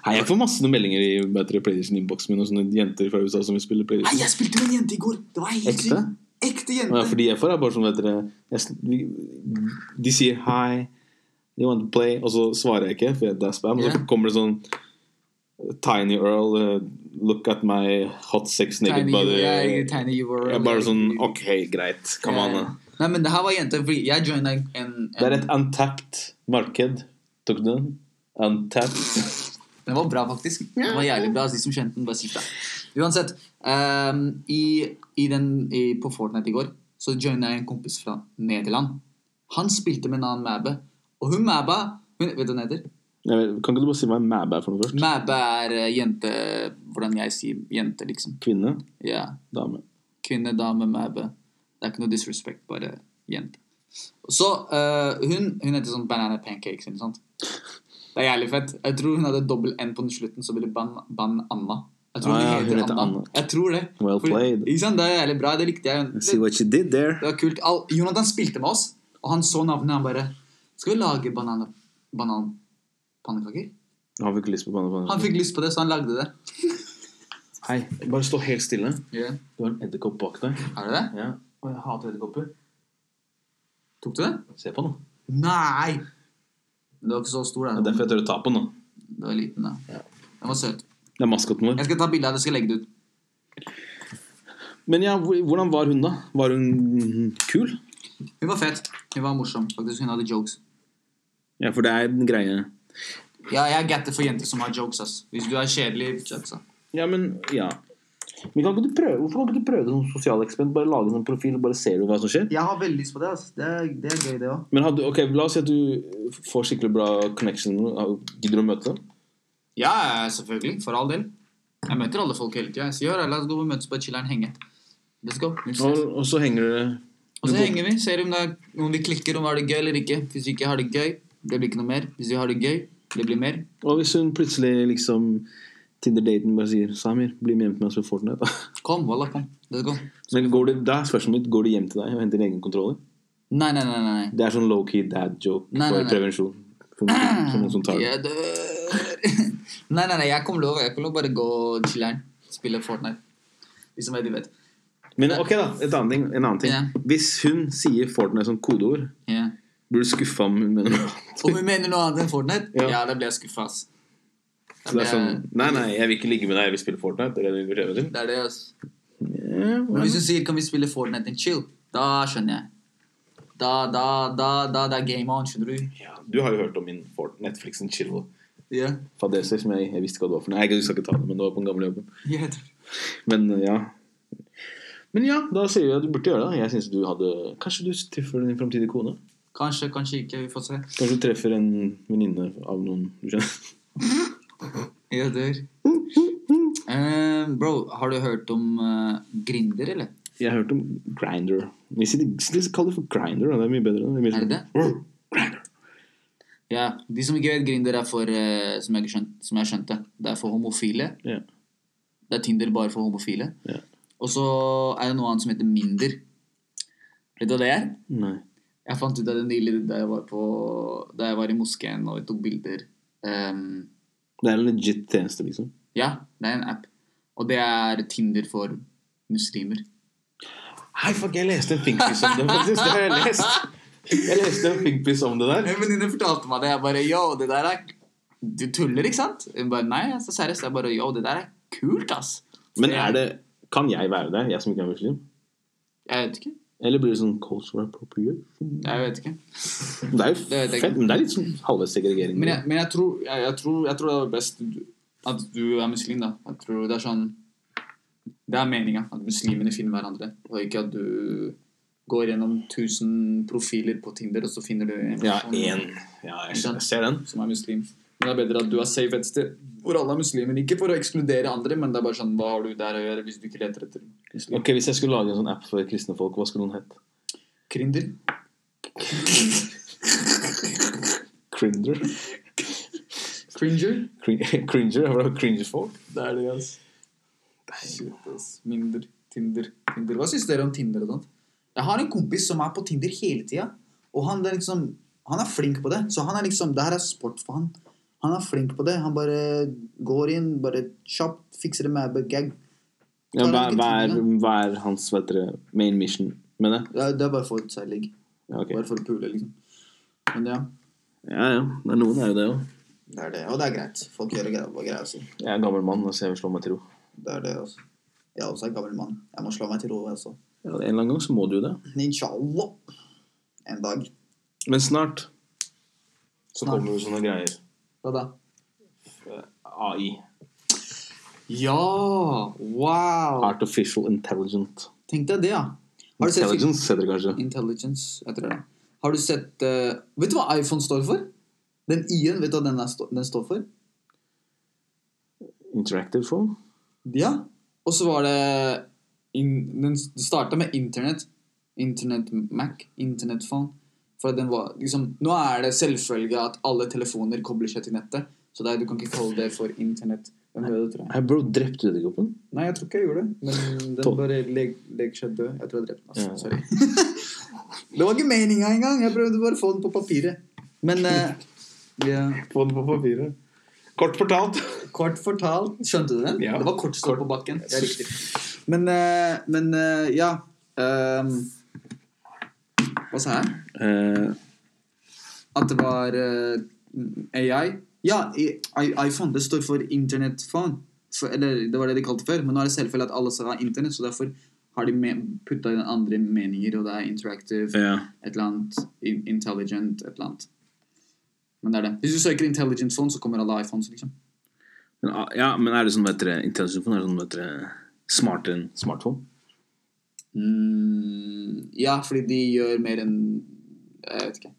[SPEAKER 2] Hei, jeg får masse meldinger i bedre PlayStation-innboksen min og sånne jenter fra USA som vil spille
[SPEAKER 1] Nei,
[SPEAKER 2] PlayStation.
[SPEAKER 1] jeg spilte med en jente i går! Det var helt
[SPEAKER 2] Ekte?
[SPEAKER 1] sykt. Ekte
[SPEAKER 2] Ja,
[SPEAKER 1] jente.
[SPEAKER 2] fordi jeg får er bare sånn, vet dere jeg, sn- vi- De sier 'hi, you want to play', og så svarer jeg ikke, for det er spam. Og så
[SPEAKER 1] Ja.
[SPEAKER 2] kommer det sånn Tiny Earl, eh, look at my hot sex naked
[SPEAKER 1] Tiny,
[SPEAKER 2] body.
[SPEAKER 1] ja, tiny URL.
[SPEAKER 2] Jeg er bare sånn OK, greit. Come on. da.
[SPEAKER 1] Nei, men det her var jenter, fordi jeg joina en, en,
[SPEAKER 2] Det er et untapped marked. Tok du den? Untapped.
[SPEAKER 1] Den var bra, faktisk. Den var jævlig bra. altså, De som kjente den, bare sitt der. Uansett, ehm, i, i den, i, på Fortnite i går så joina jeg en kompis fra Nederland. Han spilte med en annen Mæbe, og hun Mæba hun, Vet du hva hun heter?
[SPEAKER 2] Jeg vet- Kan ikke du bare si hva en mæbe er for noe først?
[SPEAKER 1] Mæbe er eh, jente Hvordan jeg sier jente, liksom.
[SPEAKER 2] Kvinne?
[SPEAKER 1] Ja.
[SPEAKER 2] Dame?
[SPEAKER 1] Kvinne, dame, Mæbe. Det er ikke noe disrespect, bare jente. Så eh, hun, hun heter sånn Banana Pancakes, ikke sant? Det er jævlig fett. Jeg tror hun hadde dobbel N på den slutten, så ble det Ban, ban Anna. Jeg tror
[SPEAKER 2] Ah,
[SPEAKER 1] hun,
[SPEAKER 2] ja,
[SPEAKER 1] heter
[SPEAKER 2] hun heter
[SPEAKER 1] Anna.
[SPEAKER 2] Anna.
[SPEAKER 1] Jeg tror det.
[SPEAKER 2] Well
[SPEAKER 1] Fordi-
[SPEAKER 2] played.
[SPEAKER 1] Ikke sant? Det er jævlig bra. Det likte jeg.
[SPEAKER 2] I
[SPEAKER 1] Det,
[SPEAKER 2] See what you did there.
[SPEAKER 1] det var kult. Al Jonathan spilte med oss, og han så navnet, han bare Skal vi lage banan bananpannekaker?
[SPEAKER 2] Han fikk lyst på
[SPEAKER 1] Han
[SPEAKER 2] banne.
[SPEAKER 1] fikk lyst på det, så han lagde det.
[SPEAKER 2] Hei, bare stå helt stille.
[SPEAKER 1] Yeah.
[SPEAKER 2] Du har en edderkopp bak deg.
[SPEAKER 1] Er det det?
[SPEAKER 2] Ja. Og jeg hater edderkopper.
[SPEAKER 1] Tok du det?
[SPEAKER 2] Se på den.
[SPEAKER 1] Nei! Det var ikke så stor,
[SPEAKER 2] Det er
[SPEAKER 1] den.
[SPEAKER 2] derfor jeg tør å ta på den. da.
[SPEAKER 1] Det var liten, da.
[SPEAKER 2] Ja.
[SPEAKER 1] Den var søt.
[SPEAKER 2] Det er maskoten vår.
[SPEAKER 1] Jeg skal ta bilde av det, skal legge det ut.
[SPEAKER 2] Men ja, hvor- hvordan var hun, da? Var hun kul?
[SPEAKER 1] Hun var fet. Hun var morsom, faktisk. Hun hadde jokes.
[SPEAKER 2] Ja, for det er en greie.
[SPEAKER 1] Ja, jeg er gatter for jenter som har jokes, ass. Hvis du er kjedelig, jokes, ass.
[SPEAKER 2] Ja, men ja. Men kan ikke du prøve, hvorfor kan ikke du prøve det som sosialeksperiment? Bare lage en sånn profil, og bare ser du hva som skjer?
[SPEAKER 1] Jeg har veldig lyst på det, ass. Det er, gøy, det òg.
[SPEAKER 2] Men hadde, ok, La oss si at du får skikkelig bra connection. Gidder du å møte dem?
[SPEAKER 1] Ja, selvfølgelig. For all del. Jeg møter alle folk hele tida. Jeg sier «Hør, la oss gå og møtes på chiller'n, henge. Let's go. Vi
[SPEAKER 2] Og,
[SPEAKER 1] ses.
[SPEAKER 2] og så henger dere
[SPEAKER 1] Og så
[SPEAKER 2] du går-
[SPEAKER 1] henger vi. Ser om, det er, om vi klikker, om vi har det gøy eller ikke. Hvis vi ikke har det gøy, det blir ikke noe mer. Hvis vi har det gøy, det blir mer.
[SPEAKER 2] Og hvis hun plutselig liksom Tinder-daten bare sier 'Samir, bli med hjem til meg og spille Fortnite', da.
[SPEAKER 1] Kom, wallah, kom. Let's go.
[SPEAKER 2] Men går du, da er spørsmålet mitt går du hjem til deg og henter din egen kontroller.
[SPEAKER 1] Nei, nei, nei. nei.
[SPEAKER 2] Det er sånn low-key dad-joke
[SPEAKER 1] Nei, nei,
[SPEAKER 2] for
[SPEAKER 1] nei.
[SPEAKER 2] prevensjon. For noen, for noen som tar
[SPEAKER 1] Jeg
[SPEAKER 2] det.
[SPEAKER 1] dør. nei, nei, nei, jeg kommer lov. Jeg kommer lov bare gå og chiller'n. Spille Fortnite. De som vet, de vet.
[SPEAKER 2] Men ok, da. Et annet ting, en annen ting.
[SPEAKER 1] Ja.
[SPEAKER 2] Hvis hun sier Fortnite som kodeord,
[SPEAKER 1] Ja.
[SPEAKER 2] blir du skuffa om hun mener noe annet.
[SPEAKER 1] Om vi mener noe annet enn Fortnite,
[SPEAKER 2] Ja.
[SPEAKER 1] ja, da blir jeg skuffa, ass. Da
[SPEAKER 2] Så det er
[SPEAKER 1] blir
[SPEAKER 2] sånn
[SPEAKER 1] jeg-
[SPEAKER 2] Nei, nei, jeg vil ikke ligge med deg, jeg vil spille Fortnite. Det er det du vil til.
[SPEAKER 1] Det er det, ass.
[SPEAKER 2] Ja,
[SPEAKER 1] Men
[SPEAKER 2] hva-
[SPEAKER 1] hvis du sier 'kan vi spille Fortnite and chill', da skjønner jeg. Da, da, da, da det er game on, skjønner du.
[SPEAKER 2] ja, du har jo hørt om min Fortnite- Netflix and chill
[SPEAKER 1] Ja.
[SPEAKER 2] fadeser som jeg, jeg visste ikke hva det var for noe. Nei, du skal ikke ta det, men det var på den gamle jobben.
[SPEAKER 1] Jeg heter
[SPEAKER 2] Men eh, ja. Men ja, da sier vi at du burde gjøre det. da. Jeg synes du hadde Kanskje du treffer din framtidige kone?
[SPEAKER 1] Kanskje, kanskje ikke. Vi får se.
[SPEAKER 2] Kanskje du treffer en venninne av noen du kjenner?
[SPEAKER 1] Jeg dør. Eh, bro, har du hørt om eh, Grinder, eller?
[SPEAKER 2] Jeg har hørt om Grinder. Vi sier de kaller det for Grinder. Det er mye bedre. Det er, mye
[SPEAKER 1] Er det
[SPEAKER 2] sånn- Rrr, Grindr.
[SPEAKER 1] Ja, De som ikke vet Grinder, er for eh, som, jeg ikke skjønt, som jeg skjønte, det er for homofile.
[SPEAKER 2] Ja.
[SPEAKER 1] Det er Tinder bare for homofile.
[SPEAKER 2] Ja.
[SPEAKER 1] Og så er det noe annet som heter Minder. Vet du hva det er?
[SPEAKER 2] Nei.
[SPEAKER 1] Jeg fant ut av det nylig da jeg var, på, da jeg var i moskeen og tok bilder. Ehm,
[SPEAKER 2] Det er en legit tjeneste, liksom.
[SPEAKER 1] ja, det er en app. Og det er Tinder for muslimer.
[SPEAKER 2] Hei, fuck, jeg leste en thinkpiece om det, faktisk. Det har jeg lest. Jeg leste en thinkpiece om det der.
[SPEAKER 1] En venninne fortalte meg det. Jeg bare yo, det der er Du tuller, ikke sant? Hun bare nei, altså, seriøst. Jeg bare yo, det der er kult, ass.
[SPEAKER 2] Men er det Kan jeg være der, jeg som ikke er muslim?
[SPEAKER 1] Jeg vet ikke.
[SPEAKER 2] Eller blir det sånn cultural appropriation?
[SPEAKER 1] Jeg vet ikke.
[SPEAKER 2] Det er jo
[SPEAKER 1] Det vet jeg
[SPEAKER 2] fett, men det er litt sånn halvveis segregering.
[SPEAKER 1] Men jeg, men jeg, tror, jeg, jeg, tror, jeg tror det er best du- at du er muslim, da. Jeg tror det er sånn Det er meninga at muslimene finner hverandre, og ikke at du går gjennom 1000 profiler på Tinder, og så finner du en
[SPEAKER 2] Ja,
[SPEAKER 1] person
[SPEAKER 2] én. Ja, jeg skjønner. Jeg ser den.
[SPEAKER 1] som er muslim. Men det er bedre at du er safe et sted hvor alle er muslimer. Ikke for å ekskludere andre, men det er bare sånn Hva har du der å gjøre hvis du ikke leter etter muslim?
[SPEAKER 2] Ok, Hvis jeg skulle lage en sånn app for kristne folk, hva skulle den hett?
[SPEAKER 1] Krinder?
[SPEAKER 2] Crinder?
[SPEAKER 1] Cringer?
[SPEAKER 2] Cringer? Hva er det? Cringer folk?
[SPEAKER 1] Det er det, altså. Shit, ass. Minder. Tinder. Tinder. Hva syns dere om Tinder og sånt? Jeg har en kompis som er på Tinder hele tida, og han er liksom Han er flink på det, så han er liksom Det her er sport for han. Han er flink på det. Han bare går inn, bare kjapt fikser det med abbe gag.
[SPEAKER 2] Ja, hva, hva, er, hva er hans hva heter det, main mission med det?
[SPEAKER 1] Det er det er bare for særlig.
[SPEAKER 2] Ja, ok.
[SPEAKER 1] Bare for å pule, liksom. Men ja.
[SPEAKER 2] ja, ja. Det er noen er jo det òg.
[SPEAKER 1] Det er det. Og det er greit. Folk gjør greia på greia si.
[SPEAKER 2] Jeg er en gammel mann, så jeg vil slå meg til ro.
[SPEAKER 1] Det er det, altså. Jeg er også en gammel mann. Jeg må slå meg til ro, altså.
[SPEAKER 2] Ja, en eller annen gang så må du jo det.
[SPEAKER 1] Inshallah. En dag.
[SPEAKER 2] Men snart så
[SPEAKER 1] Snart.
[SPEAKER 2] kommer det sånne greier.
[SPEAKER 1] Hva da?
[SPEAKER 2] Eh, AI.
[SPEAKER 1] Ja! Wow!
[SPEAKER 2] Artificial intelligent.
[SPEAKER 1] Tenk deg det, ja. Har du sett film-
[SPEAKER 2] Intelligence heter det kanskje.
[SPEAKER 1] Intelligence, jeg tror det. Har du sett eh, Vet du hva iPhone står for? Den Y-en, vet du hva den, er stå, den står for?
[SPEAKER 2] Interactive phone?
[SPEAKER 1] Ja. Og så var det in, Den starta med Internett. Internett Mac. Internettphone. For den var liksom Nå er det selvfølge at alle telefoner kobler seg til nettet. Så det er, du kan ikke kalle det for Internett. Den døde, tror jeg.
[SPEAKER 2] Hey, bro, drepte du edderkoppen?
[SPEAKER 1] Nei, jeg tror ikke jeg gjorde det. Men den
[SPEAKER 2] Tolv.
[SPEAKER 1] bare leg, legger seg død. Jeg tror jeg drepte den.
[SPEAKER 2] Ja.
[SPEAKER 1] Altså. Sorry. det var ikke meninga engang. Jeg prøvde bare å få den på papiret. Men eh, ja.
[SPEAKER 2] Få det på papiret. Kort fortalt.
[SPEAKER 1] kort fortalt Skjønte du den?
[SPEAKER 2] Ja.
[SPEAKER 1] Det var kort stål på bakken. Det er riktig. Men, eh, men eh, ja ehm, Hva sa jeg?
[SPEAKER 2] Eh,
[SPEAKER 1] At det var eh, AI. Ja, i, i, iPhone. Det står for Internet Phone. For, eller det var det de kalte før, men nå er det selvfølgelig at alle skal ha Internett, så derfor har de putta inn andre meninger, og det er interactive,
[SPEAKER 2] ja.
[SPEAKER 1] et eller annet, in, intelligent, et eller annet. Men det er det. Hvis du søker intelligent phone, så kommer alle iPhones, liksom.
[SPEAKER 2] Men, ah, ja, men er det sånn vet dere, intelligent phone? Er det sånn vet dere, smartere enn smartphone?
[SPEAKER 1] Mm, ja, fordi de gjør mer enn Jeg vet ikke.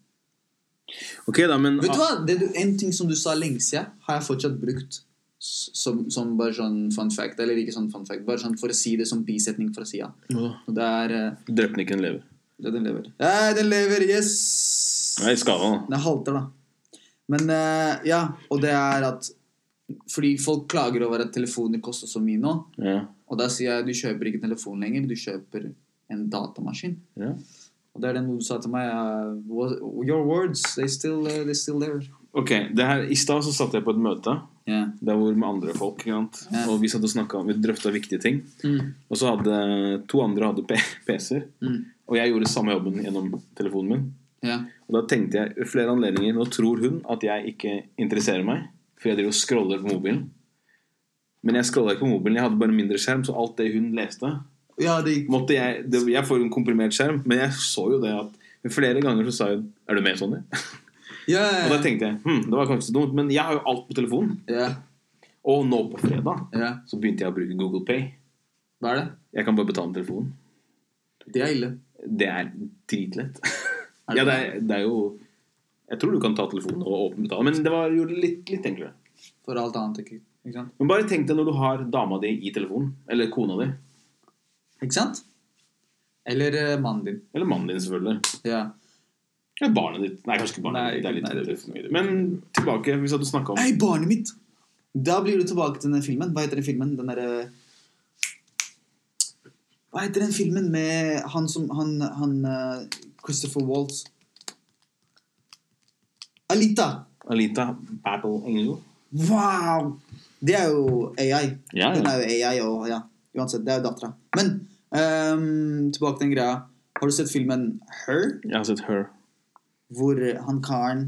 [SPEAKER 2] Ok, da, men
[SPEAKER 1] Vet du
[SPEAKER 2] ah,
[SPEAKER 1] hva? Det du, en ting som du sa lenge siden, har jeg fortsatt brukt s- som, som bare sånn fun fact. Eller ikke sånn fun fact, bare sånn for å si det som bisetning fra sida.
[SPEAKER 2] hva da?
[SPEAKER 1] Og det er eh,
[SPEAKER 2] Drepte Ah, den ikke en lever?
[SPEAKER 1] Ja, den lever. Ja, den lever! Yes!
[SPEAKER 2] Nei, skada, da.
[SPEAKER 1] Den halter, da. Men eh, ja, og det er at Fordi folk klager over at telefoner koster så mye nå.
[SPEAKER 2] Ja.
[SPEAKER 1] Og da sier jeg du kjøper ikke telefon lenger, du kjøper en datamaskin.
[SPEAKER 2] ja.
[SPEAKER 1] Og det er den du sa til meg. eh, was- your words, they still, eh, they still there.
[SPEAKER 2] Ok, det her, I stad så satt jeg på et møte
[SPEAKER 1] Ja.
[SPEAKER 2] der hvor med andre folk. Ikke sant?
[SPEAKER 1] Ja.
[SPEAKER 2] Og vi satt og snakket, vi drøfta viktige ting.
[SPEAKER 1] Mm.
[SPEAKER 2] Og så hadde to andre hadde P- PC-er.
[SPEAKER 1] Mm.
[SPEAKER 2] Og jeg gjorde samme jobben gjennom telefonen min.
[SPEAKER 1] Ja.
[SPEAKER 2] Og da tenkte jeg ved flere anledninger Nå tror hun at jeg ikke interesserer meg, for jeg driver og scroller på mobilen. Men jeg scrolla ikke på mobilen, jeg hadde bare mindre skjerm, så alt det hun leste
[SPEAKER 1] ja, det gikk
[SPEAKER 2] måtte Jeg det, jeg får jo en komprimert skjerm, men jeg så jo det at Flere ganger så sa hun Er du med, Sonny?
[SPEAKER 1] ja,
[SPEAKER 2] Og da
[SPEAKER 1] ja,
[SPEAKER 2] tenkte jeg hm, det var kanskje så dumt, men jeg har jo alt på telefonen.
[SPEAKER 1] ja,
[SPEAKER 2] Og nå på fredag
[SPEAKER 1] ja.
[SPEAKER 2] så begynte jeg å bruke Google Pay.
[SPEAKER 1] Hva er det?
[SPEAKER 2] Jeg kan bare betale med telefonen.
[SPEAKER 1] Det er ille.
[SPEAKER 2] Det er dritlett.
[SPEAKER 1] Er det
[SPEAKER 2] ja, det er, det er jo Jeg tror du kan ta telefonen og åpne betale, men det var jo litt, litt enklere.
[SPEAKER 1] For alt annet ikke, ikke sant?
[SPEAKER 2] Men bare tenk deg når du har dama di i telefonen. Eller kona di.
[SPEAKER 1] Ikke sant? Eller eh, mannen din.
[SPEAKER 2] Eller mannen din, selvfølgelig.
[SPEAKER 1] Ja.
[SPEAKER 2] Eller barnet ditt. Nei, kanskje ikke barnet
[SPEAKER 1] Nei,
[SPEAKER 2] ditt. Det er
[SPEAKER 1] nei,
[SPEAKER 2] litt
[SPEAKER 1] det-
[SPEAKER 2] det for mye. Men tilbake. Vi satt og snakka om
[SPEAKER 1] Hei, barnet mitt! Da blir du tilbake til den filmen. Hva heter den filmen? Den derre Hva heter den filmen med han som Han, han eh, Christopher Waltz? Alita!
[SPEAKER 2] Alita Battle Angel.
[SPEAKER 1] Wow! Det er jo AI.
[SPEAKER 2] Ja, ja.
[SPEAKER 1] Den er jo AI og ja. Uansett, det er jo dattera. Men ehm, tilbake til den greia. Har du sett filmen Her?
[SPEAKER 2] Jeg har sett Her.
[SPEAKER 1] Hvor han karen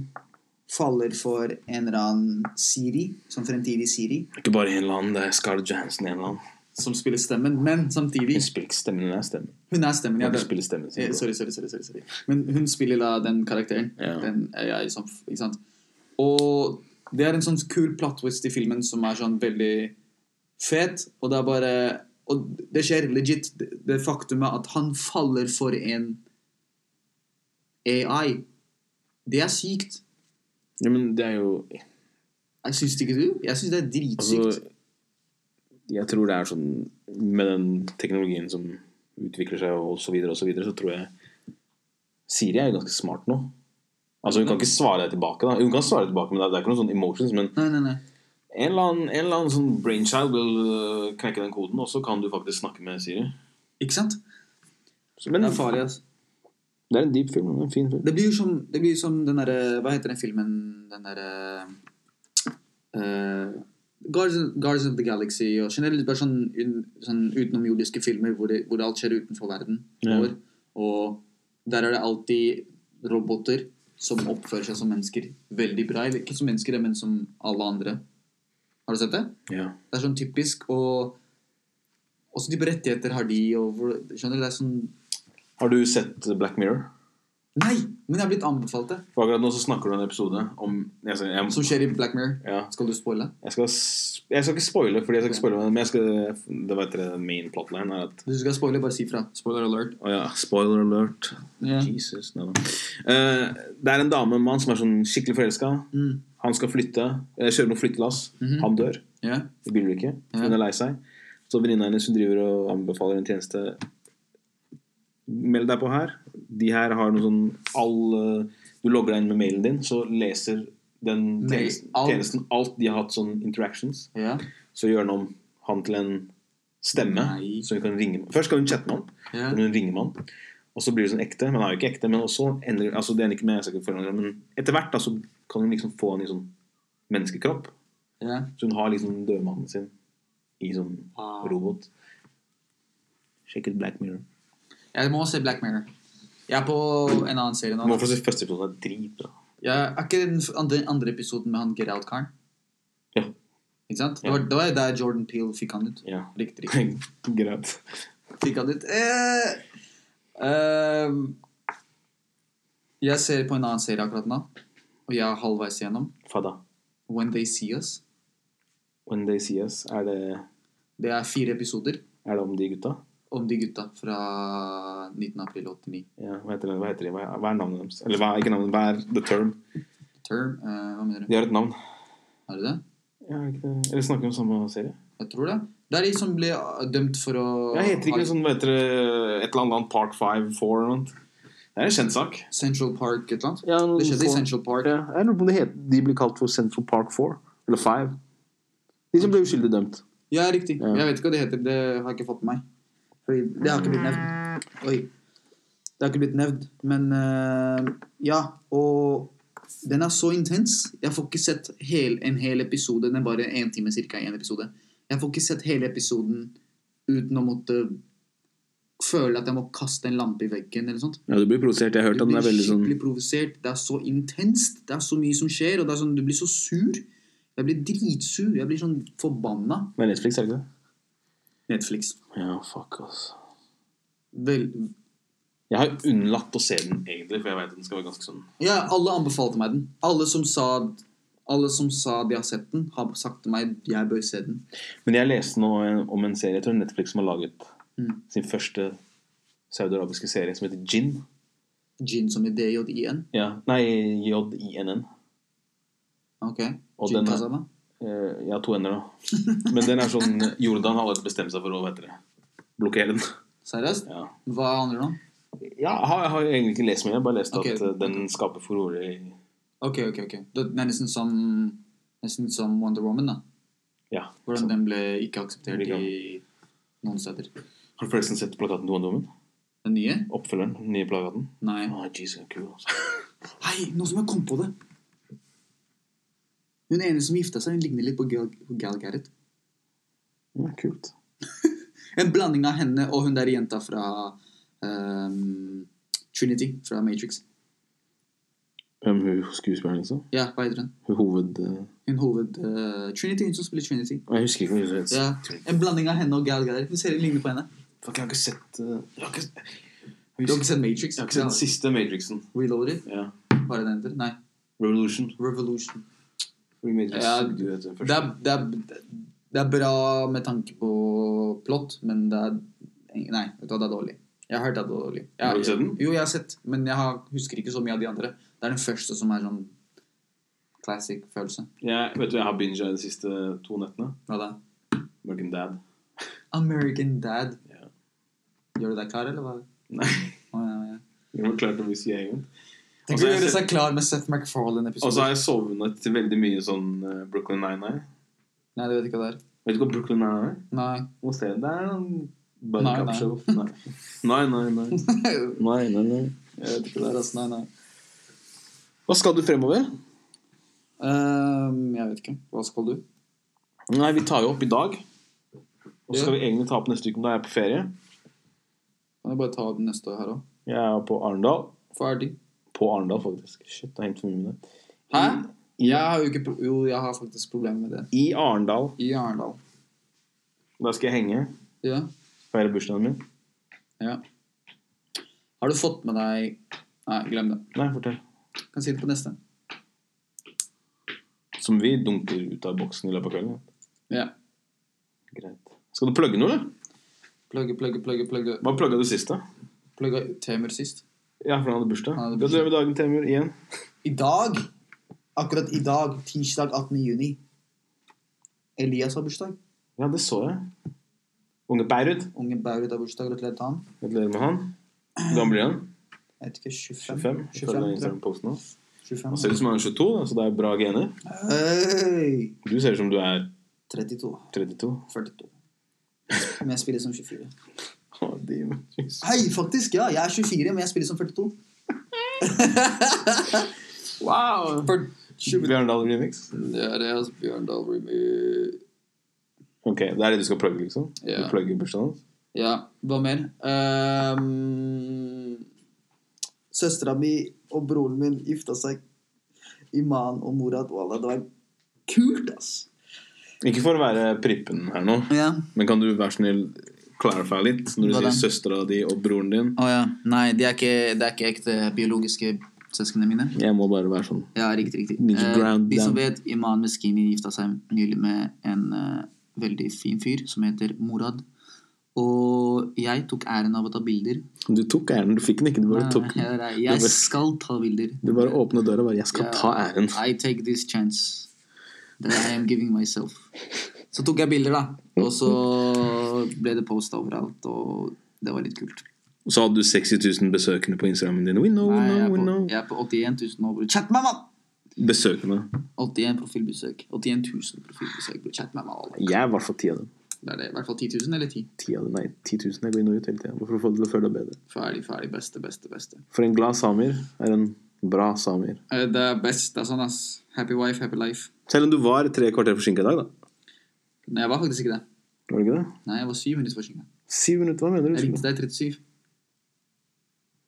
[SPEAKER 1] faller for en eller annen Siri, som fremtidig Siri,
[SPEAKER 2] Ikke bare en eller annen. Det er Scarlett Johansson i en eller annen.
[SPEAKER 1] som spiller stemmen, men samtidig
[SPEAKER 2] Hun spiller ikke stemmen, hun er stemmen.
[SPEAKER 1] Hun er stemmen.
[SPEAKER 2] Hun
[SPEAKER 1] Ja, det,
[SPEAKER 2] spiller stemmen
[SPEAKER 1] eh,
[SPEAKER 2] sin.
[SPEAKER 1] sorry, sorry, sorry, sorry, sorry. Men hun spiller da den karakteren.
[SPEAKER 2] Ja.
[SPEAKER 1] Den AI som Ikke sant? Og det er en sånn kul plot twist i filmen som er sånn veldig fet, og det er bare Og det skjer legit, det, det faktumet at han faller for en AI. Det er sykt.
[SPEAKER 2] Ja, men det er jo
[SPEAKER 1] Jeg syns ikke du? Jeg syns det er dritsykt.
[SPEAKER 2] Altså, jeg tror det er sånn Med den teknologien som utvikler seg, og så videre og så videre, så tror jeg Siri er jo ganske smart nå. Altså Hun
[SPEAKER 1] Mm.
[SPEAKER 2] kan ikke svare deg tilbake, da. Hun kan svare deg tilbake, men det er- det er ikke noen sånn emotions. Men
[SPEAKER 1] nei, nei, nei.
[SPEAKER 2] en eller annen, en eller annen sånn brainchild vil øh, knekke den koden, og så kan du faktisk snakke med Siri.
[SPEAKER 1] Ikke sant?
[SPEAKER 2] Så, men
[SPEAKER 1] Det er farlig, altså.
[SPEAKER 2] det er en deep film. En fin film.
[SPEAKER 1] Det blir jo som, det blir jo som den derre Hva heter den filmen Den derre eh, Guardians, Guardians of the Galaxy og generelt bare sånn, un- sånn utenomjordiske filmer hvor, det, hvor alt skjer utenfor verden.
[SPEAKER 2] Ja.
[SPEAKER 1] Over, og der er det alltid roboter som oppfører seg som mennesker veldig bra. Eller ikke som mennesker, men som alle andre. Har du sett det?
[SPEAKER 2] Ja.
[SPEAKER 1] Det er sånn typisk, og også type rettigheter har de, og hvor, skjønner du, det er sånn
[SPEAKER 2] Har du sett Black Mirror?
[SPEAKER 1] Nei! Men jeg har blitt anbefalt det.
[SPEAKER 2] For akkurat nå så snakker du om en episode om jeg skal, jeg,
[SPEAKER 1] Som skjer i Black Mirror.
[SPEAKER 2] ja,
[SPEAKER 1] Skal du spoile?
[SPEAKER 2] jeg, skal, s- jeg skal ikke spoile, fordi jeg skal ikke spoile men jeg skal, det var etter min plotline er at
[SPEAKER 1] Hvis du skal spoile, bare si fra. Spoiler alert.
[SPEAKER 2] Å ja, spoiler alert.
[SPEAKER 1] Ja.
[SPEAKER 2] Jesus, nei da. Eh, det er en dame og en mann som er sånn skikkelig forelska.
[SPEAKER 1] Mm.
[SPEAKER 2] Han skal flytte, eh, kjøre noe flyttelass. Han dør
[SPEAKER 1] Ja.
[SPEAKER 2] i bilulykke.
[SPEAKER 1] Ja.
[SPEAKER 2] Hun er lei seg. Så venninna hennes hun driver og anbefaler en tjeneste. Meld deg på her. De her har noe sånn all, eh, Du logger deg inn med mailen din, så leser den
[SPEAKER 1] Mail,
[SPEAKER 2] tjenesten
[SPEAKER 1] alt.
[SPEAKER 2] tjenesten alt de har hatt sånn interactions.
[SPEAKER 1] Ja.
[SPEAKER 2] Så gjør den om han til en stemme.
[SPEAKER 1] Nei.
[SPEAKER 2] Så hun kan ringe Først skal hun chatte med han.
[SPEAKER 1] Ja.
[SPEAKER 2] Men hun ringer med han. Og så blir det sånn ekte. Men han er jo ikke ekte. Men også ender, altså det ender ikke med, jeg skal ikke forandre, men etter hvert da, så kan hun liksom få han i sånn menneskekropp.
[SPEAKER 1] ja.
[SPEAKER 2] Så hun har liksom dødmannen sin i sånn
[SPEAKER 1] Wow.
[SPEAKER 2] robot. Sjekk ut Black Mirror.
[SPEAKER 1] Jeg må se Black Mirror. Jeg er på en annen serie nå.
[SPEAKER 2] Man får se første episode. Det er dritbra.
[SPEAKER 1] Jeg er ikke den f- andre, andre episoden med han Get Out-karen.
[SPEAKER 2] Ja.
[SPEAKER 1] Ikke sant? Det
[SPEAKER 2] Ja.
[SPEAKER 1] var, det var jo der Jordan Peele fikk han ut.
[SPEAKER 2] Ja.
[SPEAKER 1] Riktig. riktig.
[SPEAKER 2] Greit.
[SPEAKER 1] Fikk han ut. Eh, ehm, jeg ser på en annen serie akkurat nå, og jeg er halvveis igjennom.
[SPEAKER 2] Fadda.
[SPEAKER 1] When They See Us.
[SPEAKER 2] When They See Us, er det,
[SPEAKER 1] Det er fire episoder
[SPEAKER 2] er det om de gutta?
[SPEAKER 1] om de gutta fra 19. april 89.
[SPEAKER 2] Ja, hva heter det? Hva, heter de? hva, er, hva er navnet deres? Eller hva er ikke navnet, hva er the term?
[SPEAKER 1] Term, eh, hva mener du?
[SPEAKER 2] De har et navn.
[SPEAKER 1] Er det det?
[SPEAKER 2] Ja, er ikke det? Eller snakker vi om samme serie?
[SPEAKER 1] Jeg tror det. Det er de som ble ah, dømt for å
[SPEAKER 2] Jeg heter ikke
[SPEAKER 1] ha-
[SPEAKER 2] noe sånn, hva heter det, et eller annet annet Park 5, 4 eller noe. Det er en kjent sak.
[SPEAKER 1] Central Park et eller annet.
[SPEAKER 2] Ja,
[SPEAKER 1] Det skjedde i Central Park.
[SPEAKER 2] Jeg lurer på om det het- de blir kalt for Central Park 4 eller 5. De som ble uskyldig dømt.
[SPEAKER 1] Ja, riktig.
[SPEAKER 2] Ja.
[SPEAKER 1] Jeg vet ikke hva det heter. Det har jeg ikke fått med meg. Fordi det har ikke blitt nevnt. Oi. Det har ikke blitt nevnt. Men eh, ja, og den er så intens. Jeg får ikke sett hel, en hel episode. Den er bare én time cirka, en episode. Jeg får ikke sett hele episoden uten å måtte føle at jeg må kaste en lampe i veggen eller sånt.
[SPEAKER 2] Ja, du blir provosert. Jeg har hørt
[SPEAKER 1] Du blir
[SPEAKER 2] sånn-
[SPEAKER 1] skikkelig provosert. Det er så intenst. Det er så mye som skjer, og det er sånn, du blir så sur. Jeg blir dritsur. Jeg blir sånn forbanna.
[SPEAKER 2] Men Netflix, er det ikke det?
[SPEAKER 1] Netflix.
[SPEAKER 2] Ja, fuck, ass.
[SPEAKER 1] Vel,
[SPEAKER 2] Jeg har unnlatt å se den, egentlig, for jeg vet at den skal være ganske sånn
[SPEAKER 1] ja, alle anbefalte meg den. Alle som sa alle som sa de har sett den, har sagt til meg jeg bør se den.
[SPEAKER 2] Men jeg leste nå en- om en serie, jeg tror Netflix som har laget
[SPEAKER 1] Mm.
[SPEAKER 2] sin første saudiarabiske serie, som heter Gin.
[SPEAKER 1] Gin som i DJIN.
[SPEAKER 2] Ja. Nei, J-I-N-N.
[SPEAKER 1] Ok.
[SPEAKER 2] Og
[SPEAKER 1] Gin
[SPEAKER 2] den er-
[SPEAKER 1] Kazama.
[SPEAKER 2] Eh, Jeg har to ender, da. Men den er sånn Jordan har allerede bestemt seg for å hva heter det, blokkere den.
[SPEAKER 1] Seriøst?
[SPEAKER 2] Ja.
[SPEAKER 1] Hva handler det om?
[SPEAKER 2] Ja, jeg har, jeg har egentlig ikke lest mye. Jeg har bare lest
[SPEAKER 1] Ok.
[SPEAKER 2] at eh, den skaper furore i
[SPEAKER 1] Ok, ok, ok. Det er nesten som, nesten som Wonder Woman, da.
[SPEAKER 2] Ja.
[SPEAKER 1] Hvordan den ble ikke akseptert
[SPEAKER 2] Ikke
[SPEAKER 1] i noen steder.
[SPEAKER 2] Har du forresten sett plakaten til Wonder Woman?
[SPEAKER 1] Den nye?
[SPEAKER 2] Oppfølgeren? Den nye plakaten?
[SPEAKER 1] Nei.
[SPEAKER 2] Å, jeez, den er kul, altså.
[SPEAKER 1] Hei, nå som jeg kom på det Hun ene som gifta seg, hun ligner litt på Gal, på Gal Gadot.
[SPEAKER 2] Den er kult.
[SPEAKER 1] En blanding av henne og hun der jenta fra ehm, Trinity, fra Matrix.
[SPEAKER 2] Hvem hun skuespilleren, liksom?
[SPEAKER 1] Ja, hva heter hun?
[SPEAKER 2] Hun hoved... eh,
[SPEAKER 1] Hun hoved... eh, Trinity, hun som spiller Trinity.
[SPEAKER 2] Jeg husker ikke hva hun het.
[SPEAKER 1] Ja, En blanding av henne og Gal Gadot. Hun ser ligner på henne.
[SPEAKER 2] Fuck, jeg har ikke sett eh, Jeg har ikke, jeg
[SPEAKER 1] Du har
[SPEAKER 2] husker,
[SPEAKER 1] ikke sett Matrix?
[SPEAKER 2] jeg har ikke sett den siste Matrixen.
[SPEAKER 1] Reloaded?
[SPEAKER 2] Ja.
[SPEAKER 1] Hva er det den heter? Nei.
[SPEAKER 2] Revolution.
[SPEAKER 1] Revolution.
[SPEAKER 2] Matrix.
[SPEAKER 1] Ja,
[SPEAKER 2] du vet den
[SPEAKER 1] Det
[SPEAKER 2] første.
[SPEAKER 1] er, det, er, det er bra med tanke på plott, men det er Nei, vet du hva, det er dårlig. Jeg har hørt det er dårlig. Jeg,
[SPEAKER 2] Har du sett den?
[SPEAKER 1] Jo, jeg har sett, men jeg har, husker ikke så mye av de andre. Det er den første som er sånn classic følelse.
[SPEAKER 2] Jeg, vet du, jeg har binga de siste to nettene.
[SPEAKER 1] Hva da?
[SPEAKER 2] American Dad.
[SPEAKER 1] American Dad.
[SPEAKER 2] Ja.
[SPEAKER 1] Gjør du deg klar, eller hva?
[SPEAKER 2] Nei.
[SPEAKER 1] Å, ja, ja.
[SPEAKER 2] Jeg var klar til å bli CIA-agent.
[SPEAKER 1] Tenk
[SPEAKER 2] Altså,
[SPEAKER 1] å
[SPEAKER 2] jeg
[SPEAKER 1] gjøre
[SPEAKER 2] ser-
[SPEAKER 1] seg klar med Seth
[SPEAKER 2] Og så
[SPEAKER 1] MacFarlane-episode.
[SPEAKER 2] har jeg sovnet til veldig mye sånn eh, Brooklyn Nine-Nine.
[SPEAKER 1] Nei, det vet jeg ikke hva det er.
[SPEAKER 2] Vet du hva Brooklyn Nine-Nine er?
[SPEAKER 1] Nei.
[SPEAKER 2] Må se, det er en
[SPEAKER 1] Nei,
[SPEAKER 2] buddy-cop
[SPEAKER 1] nei.
[SPEAKER 2] show. Nei. nei, nei, nei. Nei, nei, nei. Jeg vet ikke hva det er.
[SPEAKER 1] Resten, altså. nei, nei.
[SPEAKER 2] Hva skal du fremover?
[SPEAKER 1] Ehm, jeg vet ikke. Hva skal du?
[SPEAKER 2] Nei, vi tar jo opp i dag. Og så
[SPEAKER 1] Ja.
[SPEAKER 2] skal vi egentlig ta opp neste uke, men da er jeg på ferie.
[SPEAKER 1] Kan jeg bare ta den neste her òg?
[SPEAKER 2] Jeg er på Arendal.
[SPEAKER 1] Ferdig.
[SPEAKER 2] På Arendal, faktisk. Shit, det er hengt for mye med det.
[SPEAKER 1] Hæ?
[SPEAKER 2] I-
[SPEAKER 1] Mm. Jeg har jo ikke pro Jo, jeg har faktisk problemer med det.
[SPEAKER 2] I Arendal.
[SPEAKER 1] I Arendal.
[SPEAKER 2] Da skal jeg henge.
[SPEAKER 1] Ja.
[SPEAKER 2] Feire bursdagen min.
[SPEAKER 1] ja. Har du fått med deg Nei, glem det.
[SPEAKER 2] Nei, fortell.
[SPEAKER 1] Kan si det på neste.
[SPEAKER 2] Som vi dunker ut av boksen i løpet av kvelden.
[SPEAKER 1] Ja.
[SPEAKER 2] Greit. Skal du plugge noe, eller?
[SPEAKER 1] Plugge, plugge, plugge, plugge.
[SPEAKER 2] Hva plugga du sist, da?
[SPEAKER 1] Plugga Temur sist.
[SPEAKER 2] Ja, for han hadde bursdag.
[SPEAKER 1] Han hadde bursdag.
[SPEAKER 2] Gratulerer med dagen, Temur. Igjen.
[SPEAKER 3] I dag, akkurat i dag, tirsdag 18. juni Elias har bursdag.
[SPEAKER 2] Ja, det så jeg. Unge Beirut.
[SPEAKER 3] Unge Baurud har bursdag. Gratulerer til han.
[SPEAKER 2] Gratulerer med han. Hvor gammel blir han?
[SPEAKER 3] Jeg vet ikke, 25?
[SPEAKER 2] 25?
[SPEAKER 3] 25,
[SPEAKER 2] ifølge den
[SPEAKER 3] tror jeg.
[SPEAKER 2] Instagram-posten hans.
[SPEAKER 3] 25.
[SPEAKER 2] Han ser ut som han er 22, da, så det er bra gener.
[SPEAKER 3] Hei!
[SPEAKER 2] Du ser ut som du er
[SPEAKER 3] 32.
[SPEAKER 2] 32.
[SPEAKER 3] 42. Men jeg spiller som 24.
[SPEAKER 2] Å, Demon, Jesus.
[SPEAKER 3] Hei, faktisk! Ja, jeg er 24, men jeg spiller som 42.
[SPEAKER 1] Wow! For 20
[SPEAKER 2] Bjørn Dahl remix.
[SPEAKER 1] Det er det, altså. Bjørn Dahl Remy.
[SPEAKER 2] Ok, det er det du skal plugge, liksom?
[SPEAKER 1] Ja.
[SPEAKER 2] Du plugger bursdagen hans?
[SPEAKER 1] Ja, hva mer? Ehm,
[SPEAKER 3] Søstera mi og broren min gifta seg. Iman og Murad Wallah. Det var kult, ass!
[SPEAKER 2] Ikke for å være prippen her nå,
[SPEAKER 1] ja.
[SPEAKER 2] men kan du være snill clarify litt når du
[SPEAKER 1] Hva da?
[SPEAKER 2] sier søstera di og broren din?
[SPEAKER 1] Å ja. Nei, det er ikke, det er ikke ekte biologiske søsknene mine.
[SPEAKER 2] Jeg må bare være sånn.
[SPEAKER 1] Ja, riktig, riktig.
[SPEAKER 2] Need to
[SPEAKER 1] Eh,
[SPEAKER 2] ground
[SPEAKER 1] de som
[SPEAKER 2] them.
[SPEAKER 1] vet, Iman Meskini gifta seg nylig med en eh, veldig fin fyr som heter Morad. Og jeg tok æren av å ta bilder.
[SPEAKER 2] Du tok æren. Du fikk den ikke. Du bare
[SPEAKER 1] Nei,
[SPEAKER 2] tok
[SPEAKER 1] nei,
[SPEAKER 2] den.
[SPEAKER 1] nei,
[SPEAKER 2] Du
[SPEAKER 1] Jeg
[SPEAKER 2] bare-
[SPEAKER 1] skal ta bilder.
[SPEAKER 2] Du bare åpner døra og bare 'Jeg skal
[SPEAKER 1] Ja.
[SPEAKER 2] ta æren'.
[SPEAKER 1] I take this chance that I am giving myself. Så tok jeg bilder, da. Og så ble det posta overalt, og det var litt kult.
[SPEAKER 2] Så hadde du 60 000 besøkende på Instagramen din. We know, we
[SPEAKER 1] Nei, jeg,
[SPEAKER 2] know,
[SPEAKER 1] er
[SPEAKER 2] we
[SPEAKER 1] på,
[SPEAKER 2] know.
[SPEAKER 1] jeg er på 81 000 over. Chat meg, mann!
[SPEAKER 2] Besøkende.
[SPEAKER 1] 81 profilbesøk. 81 000 profilbesøk. bro. Chat meg, mann.
[SPEAKER 2] Jeg er i hvert fall ti av dem.
[SPEAKER 1] Det er det. I hvert fall 10 000 eller 10.
[SPEAKER 2] 10 av dem, Nei, 10 000. Jeg går inn og ut hele tida. For å få det til å føle deg bedre.
[SPEAKER 1] Ferdig, ferdig. Beste, beste, beste.
[SPEAKER 2] For en glad samer er en bra samer.
[SPEAKER 1] Eh, Det er best. Det er sånn, ass. Happy wife, happy life.
[SPEAKER 2] Selv om du var tre kvarter forsinka i dag, da.
[SPEAKER 1] Nei, jeg var faktisk ikke det.
[SPEAKER 2] Var det ikke det?
[SPEAKER 1] Nei, jeg var syv minutter forsinka.
[SPEAKER 2] Syv minutter, hva mener
[SPEAKER 1] Jeg
[SPEAKER 2] du?
[SPEAKER 1] ringte deg 37.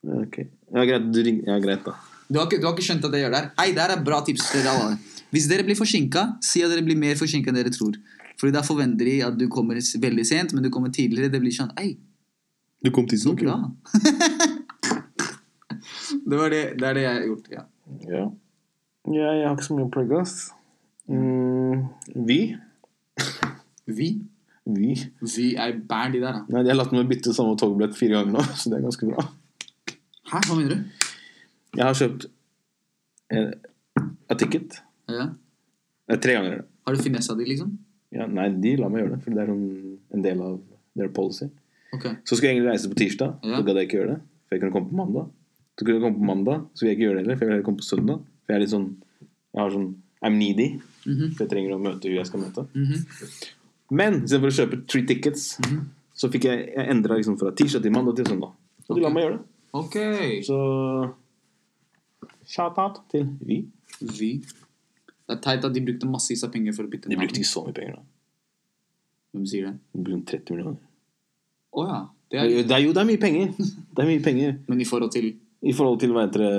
[SPEAKER 2] Ja, ok. ja, greit, du ring... ja, greit, da.
[SPEAKER 1] Du har, ikke, du har ikke skjønt at jeg gjør det her. Hei, det her er bra tips til dere alle. Hvis dere blir forsinka, si at dere blir mer forsinka enn dere tror. Fordi da forventer de at du kommer s- veldig sent, men du kommer tidligere. Det blir sånn Hei,
[SPEAKER 2] Du kom
[SPEAKER 1] så
[SPEAKER 2] tidsnok,
[SPEAKER 1] bra. det, var det, det er det jeg har gjort. Ja.
[SPEAKER 2] Ja. ja. Jeg har ikke så mye å plugge, ass. Mm, vi
[SPEAKER 1] Vi?
[SPEAKER 2] Vi?
[SPEAKER 1] Vi er bæren de der, da.
[SPEAKER 2] Nei, jeg har latt meg bytte samme togbillett fire ganger nå, så det er ganske bra.
[SPEAKER 1] Hæ, hva mener du?
[SPEAKER 2] Jeg har kjøpt eh, a ticket.
[SPEAKER 1] Ja.
[SPEAKER 2] Nei, tre ganger. er det.
[SPEAKER 1] Har du finessa de, liksom?
[SPEAKER 2] Ja, nei, de lar meg gjøre det, for det er en, en del av their policy.
[SPEAKER 1] Ok.
[SPEAKER 2] Så skulle jeg egentlig reise på tirsdag,
[SPEAKER 1] Ja.
[SPEAKER 2] så gadd jeg ikke gjøre det. For jeg kunne komme på mandag. Så kunne jeg komme på mandag, så vil jeg ikke gjøre det heller, for jeg vil heller komme på søndag. For jeg er litt sånn Jeg har sånn I'm needy.
[SPEAKER 1] Mhm.
[SPEAKER 2] For jeg trenger å møte hun jeg skal møte.
[SPEAKER 1] Mhm.
[SPEAKER 2] Men istedenfor å kjøpe three tickets, så fikk jeg, jeg endra liksom fra tirsdag til mandag til søndag. Og de lar
[SPEAKER 1] Ok.
[SPEAKER 2] meg gjøre det.
[SPEAKER 1] Ok.
[SPEAKER 2] Så shout-out til Vy.
[SPEAKER 1] Vi. Det er teit at de brukte massevis av penger for å bytte
[SPEAKER 2] De brukte ikke så mye penger, da.
[SPEAKER 1] Hvem sier det?
[SPEAKER 2] Det blir sånn 30 millioner.
[SPEAKER 1] Å ja. Det
[SPEAKER 2] Det er,
[SPEAKER 1] er,
[SPEAKER 2] jo- det er jo det er mye penger. Det er mye penger.
[SPEAKER 1] men i forhold til
[SPEAKER 2] I forhold til hva heter det,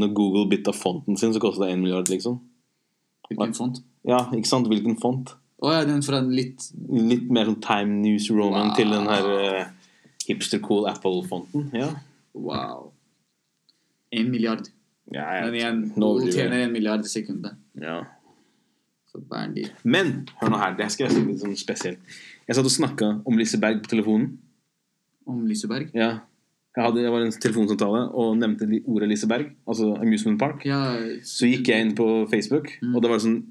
[SPEAKER 2] når Google bytta fonten sin, så kosta det 1 milliard, liksom.
[SPEAKER 1] hvilken font?
[SPEAKER 2] Ja, ikke sant? Hvilken font?
[SPEAKER 1] Å ja, den fra en litt
[SPEAKER 2] Litt mer sånn Time News Roman
[SPEAKER 1] Wow.
[SPEAKER 2] til den her eh, hipster cool Apple-fonten. Ja.
[SPEAKER 1] Wow. En milliard.
[SPEAKER 2] Ja,
[SPEAKER 1] Men igjen,
[SPEAKER 2] Nå
[SPEAKER 1] hun
[SPEAKER 2] overdriver jeg.
[SPEAKER 1] tjener en milliard i sekundet.
[SPEAKER 2] Ja.
[SPEAKER 1] Så bæren de.
[SPEAKER 2] Men hør nå her, det skal jeg si litt sånn spesielt. Jeg satt og snakka om Liseberg på telefonen.
[SPEAKER 1] Om Liseberg?
[SPEAKER 2] Ja. Jeg hadde, jeg var i en telefonsamtale og nevnte li- ordet Liseberg, altså Amusement Park.
[SPEAKER 1] Ja,
[SPEAKER 2] Så gikk jeg inn på Facebook,
[SPEAKER 1] Mm.
[SPEAKER 2] og det var sånn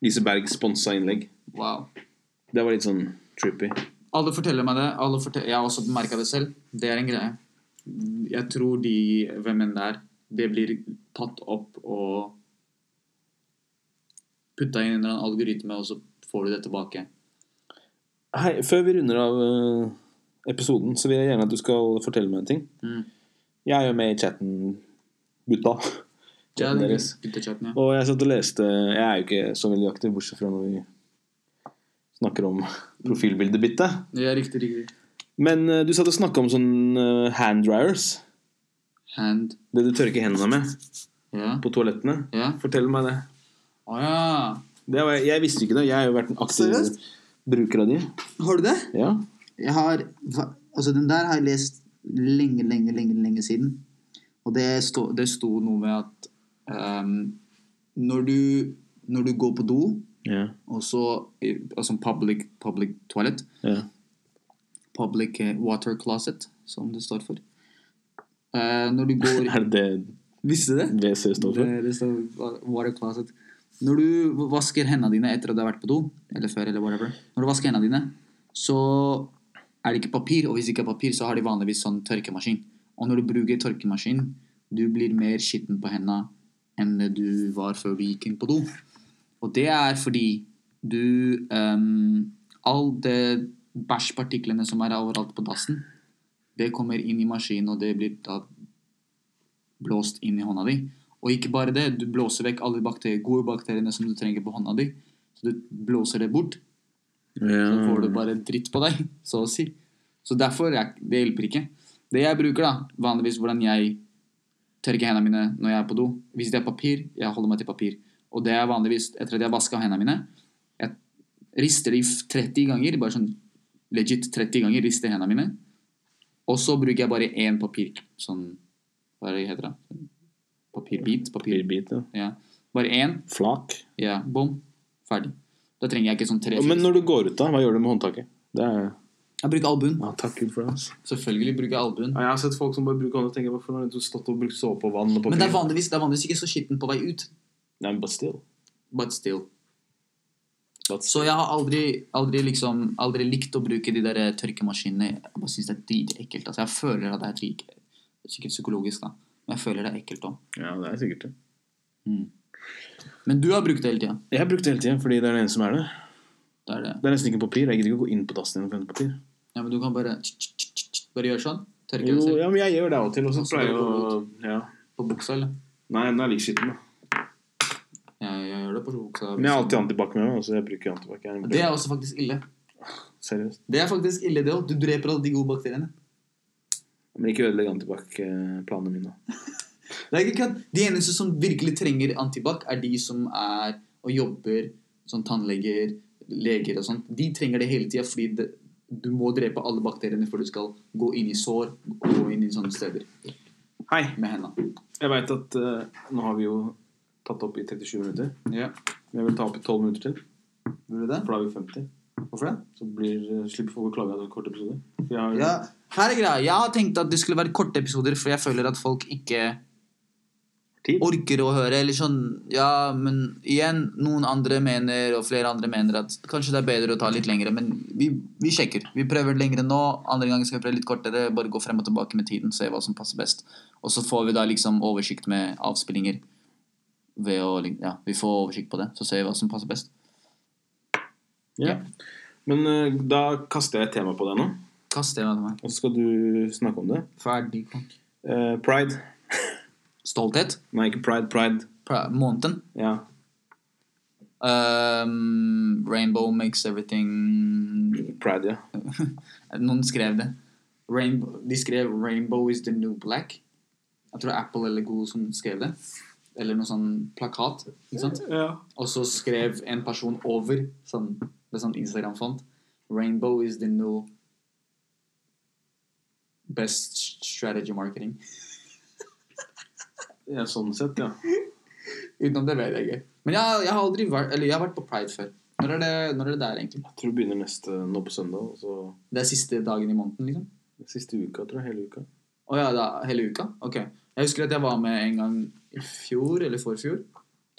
[SPEAKER 2] Liseberg-sponsa innlegg.
[SPEAKER 1] wow.
[SPEAKER 2] Det var litt sånn trippy.
[SPEAKER 1] Alle forteller meg det. Alle fortel- jeg har også merka det selv. Det er en greie. Jeg tror de, hvem enn det er, det blir tatt opp og putta inn i en eller annen algoritme, og så får du det tilbake.
[SPEAKER 2] Hei, før vi runder av eh, episoden, så vil jeg gjerne at du skal fortelle meg en ting.
[SPEAKER 1] Mm.
[SPEAKER 2] Jeg er jo med i chatten, gutta.
[SPEAKER 1] Ja,
[SPEAKER 2] Chatten
[SPEAKER 1] det
[SPEAKER 2] deres.
[SPEAKER 1] guttechatten, ja.
[SPEAKER 2] Og jeg satt og leste Jeg er jo ikke så veldig aktiv, bortsett fra når vi snakker om profilbildebytte.
[SPEAKER 1] ja, riktig, riktig.
[SPEAKER 2] Men eh, du satt og snakka om sånn eh, hand dryers.
[SPEAKER 1] Hand.
[SPEAKER 2] Det du tørker hendene med
[SPEAKER 1] Ja.
[SPEAKER 2] på toalettene.
[SPEAKER 1] Ja.
[SPEAKER 2] Fortell meg det.
[SPEAKER 1] Å ja.
[SPEAKER 2] det var, jeg visste ikke det. Jeg har jo vært en aktiv
[SPEAKER 3] Seriøst?
[SPEAKER 2] bruker av de.
[SPEAKER 3] Har du det?
[SPEAKER 2] Ja.
[SPEAKER 3] Jeg har hva- Altså, den der har jeg lest lenge, lenge, lenge, lenge siden.
[SPEAKER 1] Og det sto, det sto noe med at ehm, når, du, når du går på do,
[SPEAKER 2] Ja.
[SPEAKER 1] og så Altså public, public toilet.
[SPEAKER 2] Ja.
[SPEAKER 1] Public eh, water closet, som det står for. Eh, når du går
[SPEAKER 2] Er det det
[SPEAKER 1] Visste du det?
[SPEAKER 2] WC står for?
[SPEAKER 1] Det, det står wa- water closet. Når du vasker hendene dine etter at du har vært på do, eller før, eller whatever, når du vasker hendene dine, så er det ikke papir, og hvis det ikke er papir, så har de vanligvis sånn tørkemaskin. Og når du bruker tørkemaskin, du blir mer skitten på hendene enn det du var før du gikk inn på do. Og det er fordi du um, All det bæsjpartiklene som er overalt på dassen, det kommer inn i maskinen, og det blir da blåst inn i hånda di. Og ikke bare det, du blåser vekk alle de bakterier, gode bakteriene som du trenger på hånda di. Så du blåser det bort, så får du
[SPEAKER 2] Ja.
[SPEAKER 1] bare dritt på deg, så å si. Så derfor, er, det hjelper ikke. Det jeg bruker da, vanligvis hvordan jeg tørker hendene mine når jeg er på do. Hvis det er papir, jeg holder meg til papir. Og det er vanligvis etter at jeg har vaska hendene mine. Jeg rister de 30 ganger, bare sånn legit 30 ganger rister hendene mine. Og så bruker jeg bare én papir, sånn Hva er det heter det? Papirbit? Papir,
[SPEAKER 2] Papirbit, ja.
[SPEAKER 1] ja. Bare én,
[SPEAKER 2] Flak.
[SPEAKER 1] ja, bom, ferdig. Da trenger jeg ikke sånn tre
[SPEAKER 2] Men når du går ut, da? Hva gjør du med håndtaket? Det er...
[SPEAKER 1] Jeg bruker albuen.
[SPEAKER 2] ja, takk Gud for det. altså. ass.
[SPEAKER 1] Selvfølgelig bruker jeg albuen.
[SPEAKER 2] Ja, jeg har sett folk som bare bruker hånda og tenker hvorfor har du stått og brukt såpe og vann og papir?
[SPEAKER 1] Men det er, vanligvis, det er vanligvis ikke så skitten på vei ut.
[SPEAKER 2] Nei, but still.
[SPEAKER 1] But still.
[SPEAKER 2] But
[SPEAKER 1] Så jeg har aldri, aldri, liksom, aldri likt å bruke de der eh, tørkemaskinene. Jeg bare syns det er dritekkelt. Altså, jeg føler at det er drit... Sikkert psykologisk, da. Men jeg føler det er ekkelt òg.
[SPEAKER 2] Ja, det er sikkert det.
[SPEAKER 1] Men du har brukt det hele tida.
[SPEAKER 2] Jeg har brukt det hele tiden, fordi det er det eneste som er det.
[SPEAKER 1] Det er det.
[SPEAKER 2] Det er nesten ikke papir. Jeg gidder ikke å gå inn på dassen din og finne papir.
[SPEAKER 1] Ja, men du kan bare Bare gjøre sånn. Tørke
[SPEAKER 2] Jo,
[SPEAKER 1] deg selv
[SPEAKER 2] ja, men jeg gjør det av og til. Og så
[SPEAKER 1] Også
[SPEAKER 2] pleier jeg
[SPEAKER 1] går det
[SPEAKER 2] å ja.
[SPEAKER 1] på buksa, eller?
[SPEAKER 2] Nei, den er like skitten, da.
[SPEAKER 1] Jeg, jeg gjør det på buksa.
[SPEAKER 2] Men jeg har alltid antibac med meg. Så jeg bruker antibac. Jeg
[SPEAKER 1] Det er også faktisk ille.
[SPEAKER 2] Seriøst.
[SPEAKER 1] Det er faktisk ille, det òg. Du dreper alle de gode bakteriene.
[SPEAKER 2] Men ikke ødelegg antibac-planene mine. da.
[SPEAKER 1] Det er ikke kødd. De eneste som virkelig trenger antibac, er de som er og jobber som tannleger, leger og sånt. De trenger det hele tida fordi det, du må drepe alle bakteriene før du skal gå inn i sår og gå inn i sånne steder
[SPEAKER 2] Hei.
[SPEAKER 1] med hendene.
[SPEAKER 2] Jeg veit at eh, nå har vi jo tatt opp i 37 minutter.
[SPEAKER 1] Ja.
[SPEAKER 2] Men jeg vil ta opp i 12 minutter til.
[SPEAKER 1] Vil du det?
[SPEAKER 2] For da er vi 50.
[SPEAKER 1] Hvorfor det?
[SPEAKER 2] Så blir, eh, slipper folk å klage av en kort episode. For jeg har,
[SPEAKER 1] Ja, her er greia. Jeg har tenkt at det skulle være korte episoder, for jeg føler at folk ikke
[SPEAKER 2] Tid.
[SPEAKER 1] orker å høre. Eller sånn Ja, men igjen, noen andre mener, og flere andre mener, at kanskje det er bedre å ta litt lengre. Men vi, vi sjekker. Vi prøver lengre nå. Andre ganger skal vi prøve litt kortere. Bare gå frem og tilbake med tiden, se hva som passer best. Og så får vi da liksom oversikt med avspillinger. Ved å, lik- ja, vi får oversikt på det, så ser vi hva som passer best.
[SPEAKER 2] Ja. Men eh, da kaster jeg et tema på deg nå,
[SPEAKER 1] Kast det av meg.
[SPEAKER 2] og så skal du snakke om det.
[SPEAKER 1] Ferdig.
[SPEAKER 2] Eh, pride.
[SPEAKER 1] Stolthet.
[SPEAKER 2] Nei, ikke pride. Pride.
[SPEAKER 1] Pra- Måneden.
[SPEAKER 2] Ja.
[SPEAKER 1] Um, rainbow makes everything
[SPEAKER 2] Pride, ja.
[SPEAKER 1] Noen skrev det. Rainbow, de skrev 'Rainbow is the new black'. Jeg tror Apple eller Google som skrev det. Eller noe sånn plakat. ikke sant?
[SPEAKER 2] ja.
[SPEAKER 1] Og så skrev en person over sånn, med sånn Instagram-font 'Rainbow is the new best strategy marketing'.
[SPEAKER 2] Ja, sånn sett, ja.
[SPEAKER 1] Utenom det vet jeg ikke. Men jeg, jeg har aldri vært Eller jeg har vært på Pride før. Når er det, når er det der, egentlig?
[SPEAKER 2] Jeg tror det begynner neste nå på søndag. Og så
[SPEAKER 1] Det er siste dagen i måneden, liksom?
[SPEAKER 2] siste uka, tror jeg. Hele uka.
[SPEAKER 1] Å ja, da, hele uka? Ok. Jeg husker at jeg var med en gang i fjor, eller forfjor.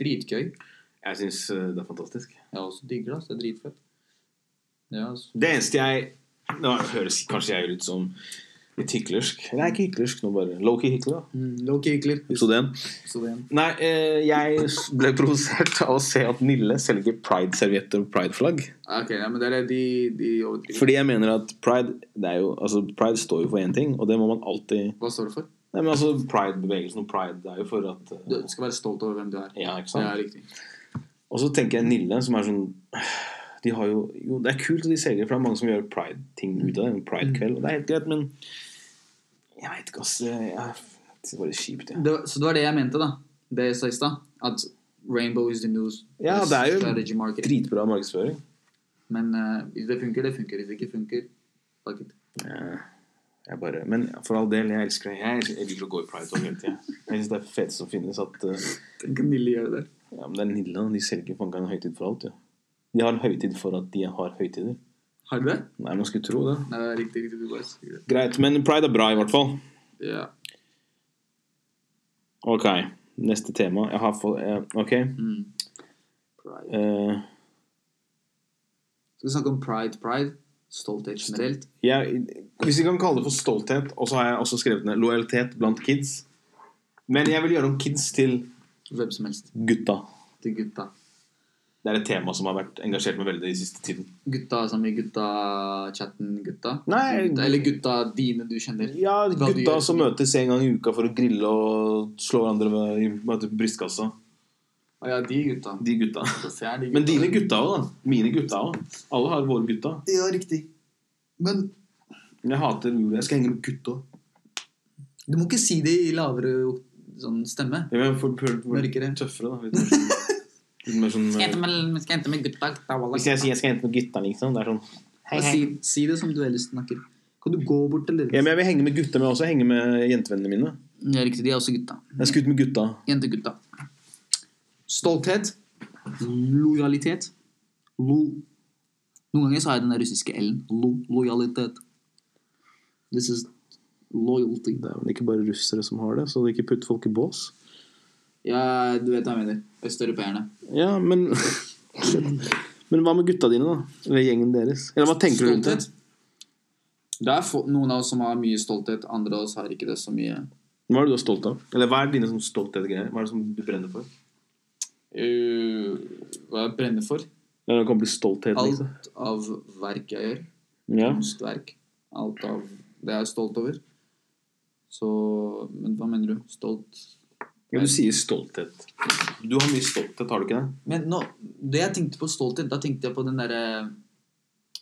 [SPEAKER 1] Dritgøy.
[SPEAKER 2] Jeg syns det er fantastisk.
[SPEAKER 1] Jeg også digger det. ass. Det er dritfett. Ja, altså. ass.
[SPEAKER 2] Det eneste jeg Nå høres kanskje jeg ut som litt hyklersk. Nei, ikke hyklersk, nå bare low-key hykler. da.
[SPEAKER 1] Mm, Loki hykler.
[SPEAKER 2] Episode én.
[SPEAKER 1] Episode én.
[SPEAKER 2] Nei, eh, jeg ble provosert av å se at Nille selger pride-servietter og pride-flagg.
[SPEAKER 1] Ok, ja, men det er de, de overdriver.
[SPEAKER 2] Fordi jeg mener at pride det er jo, altså pride står jo for én ting, og det må man alltid
[SPEAKER 1] Hva står det for?
[SPEAKER 2] Nei, men altså Pride-bevegelsen og pride er jo for at eh,
[SPEAKER 1] Du skal være stolt over hvem du er.
[SPEAKER 2] Ja, ikke
[SPEAKER 1] Det
[SPEAKER 2] sant?
[SPEAKER 1] er riktig.
[SPEAKER 2] Og så tenker jeg Nille, som er sånn de har jo, jo, Det er kult at de selger, for det er mange som gjør pride-ting ut av det. en Pride-kveld, og Det er helt greit, men jeg veit ikke, ass. Jeg, jeg det er bare kjipt, jeg.
[SPEAKER 1] Det, var- så det var det jeg mente, da. Det jeg sa i stad. At rainbow is the news.
[SPEAKER 2] Ja, det er jo
[SPEAKER 1] strategy marketing.
[SPEAKER 2] Dritbra markedsføring.
[SPEAKER 1] Men eh, hvis det funker, det funker. Hvis det ikke funker, fuck it.
[SPEAKER 2] Ja, Jeg bare, men for all del, jeg elsker det. Jeg elsker, jeg liker å gå i pride-tog hele tiden. Jeg synes det er fett som finnes at eh,
[SPEAKER 1] Tenk at Nille gjør det.
[SPEAKER 2] Ja, men det er Nidland. De selger faen ikke en høytid for alt, ja. De har en høytid for at de har høytider.
[SPEAKER 1] Har du det?
[SPEAKER 2] Nei, man skulle tro det.
[SPEAKER 1] Nei, det er riktig. riktig du bare sier det.
[SPEAKER 2] Greit, men pride er bra, i hvert fall.
[SPEAKER 1] Ja.
[SPEAKER 2] Ok, neste tema. Jeg har fått eh, Ok.
[SPEAKER 1] Mm. Pride.
[SPEAKER 2] eh,
[SPEAKER 1] Skal vi snakke om pride, pride? Stolthet generelt?
[SPEAKER 2] jeg, hvis vi kan kalle det for stolthet, og så har jeg også skrevet ned lojalitet blant kids. Men jeg vil gjøre om kids til
[SPEAKER 1] Hvem som helst.
[SPEAKER 2] gutta.
[SPEAKER 1] Til gutta.
[SPEAKER 2] Det er et tema som har vært engasjert meg veldig i siste tiden.
[SPEAKER 1] Gutta som i gutta-chatten gutta?
[SPEAKER 2] Nei.
[SPEAKER 1] Gutta- Eller gutta dine du kjenner?
[SPEAKER 2] Ja,
[SPEAKER 1] Hva du
[SPEAKER 2] gutta
[SPEAKER 1] gjør.
[SPEAKER 2] som møtes en gang i uka for å grille og slå hverandre med- i med brystkassa.
[SPEAKER 1] Å ja, de gutta.
[SPEAKER 2] De gutta.
[SPEAKER 1] Fjern de gutta.
[SPEAKER 2] Men dine gutta òg, da. Mine gutta òg. Alle har våre gutta.
[SPEAKER 3] Ja, riktig. Men
[SPEAKER 2] Men jeg hater ordet. Jeg skal henge med gutta.
[SPEAKER 1] Du må ikke si det i lavere sånn stemme.
[SPEAKER 2] Jeg vil få- få- få-
[SPEAKER 1] Mørkere.
[SPEAKER 2] Tøffere, da. Litt mer sånn, litt mer sånn eh,
[SPEAKER 1] med, skal hente med gutta,
[SPEAKER 2] Hvis jeg sier jeg skal hente med gutta, liksom, det er sånn
[SPEAKER 1] Si, si det som du ellers snakker. Kan du gå bort til
[SPEAKER 2] Ja,
[SPEAKER 1] dere?
[SPEAKER 2] men jeg vil henge med gutta, men jeg vil også henge med jentevennene mine.
[SPEAKER 1] Ja, riktig. De er også gutta.
[SPEAKER 2] Jeg skal ut med gutta.
[SPEAKER 1] Jentegutta. Stolthet. Lojalitet. Lo. Noen ganger så har jeg den der russiske L-en. Lo. Lojalitet. This is loyalty.
[SPEAKER 2] Det er vel ikke bare russere som har det, så ikke putt folk i bås.
[SPEAKER 1] Ja, du vet hva jeg mener. Østeuropeerne.
[SPEAKER 2] Ja, men Men hva med gutta dine, da? Eller gjengen deres? Eller hva tenker du rundt det?
[SPEAKER 1] Stolthet. Det er fo- noen av oss som har mye stolthet, andre av oss har ikke det så mye.
[SPEAKER 2] Hva er det du er stolt av? Eller hva er dine sånn stolthet-greier? Hva er det som du brenner for?
[SPEAKER 1] Uh, hva jeg brenner for?
[SPEAKER 2] Eller det kan bli stolthet, liksom.
[SPEAKER 1] Alt av verk jeg gjør.
[SPEAKER 2] Ja.
[SPEAKER 1] kunstverk. Alt av det jeg er stolt over. Så Men hva mener du? Stolt
[SPEAKER 2] ja, du sier stolthet. Du har mye stolthet, har du ikke det?
[SPEAKER 1] Men nå, det jeg tenkte på stolthet, da tenkte jeg på den derre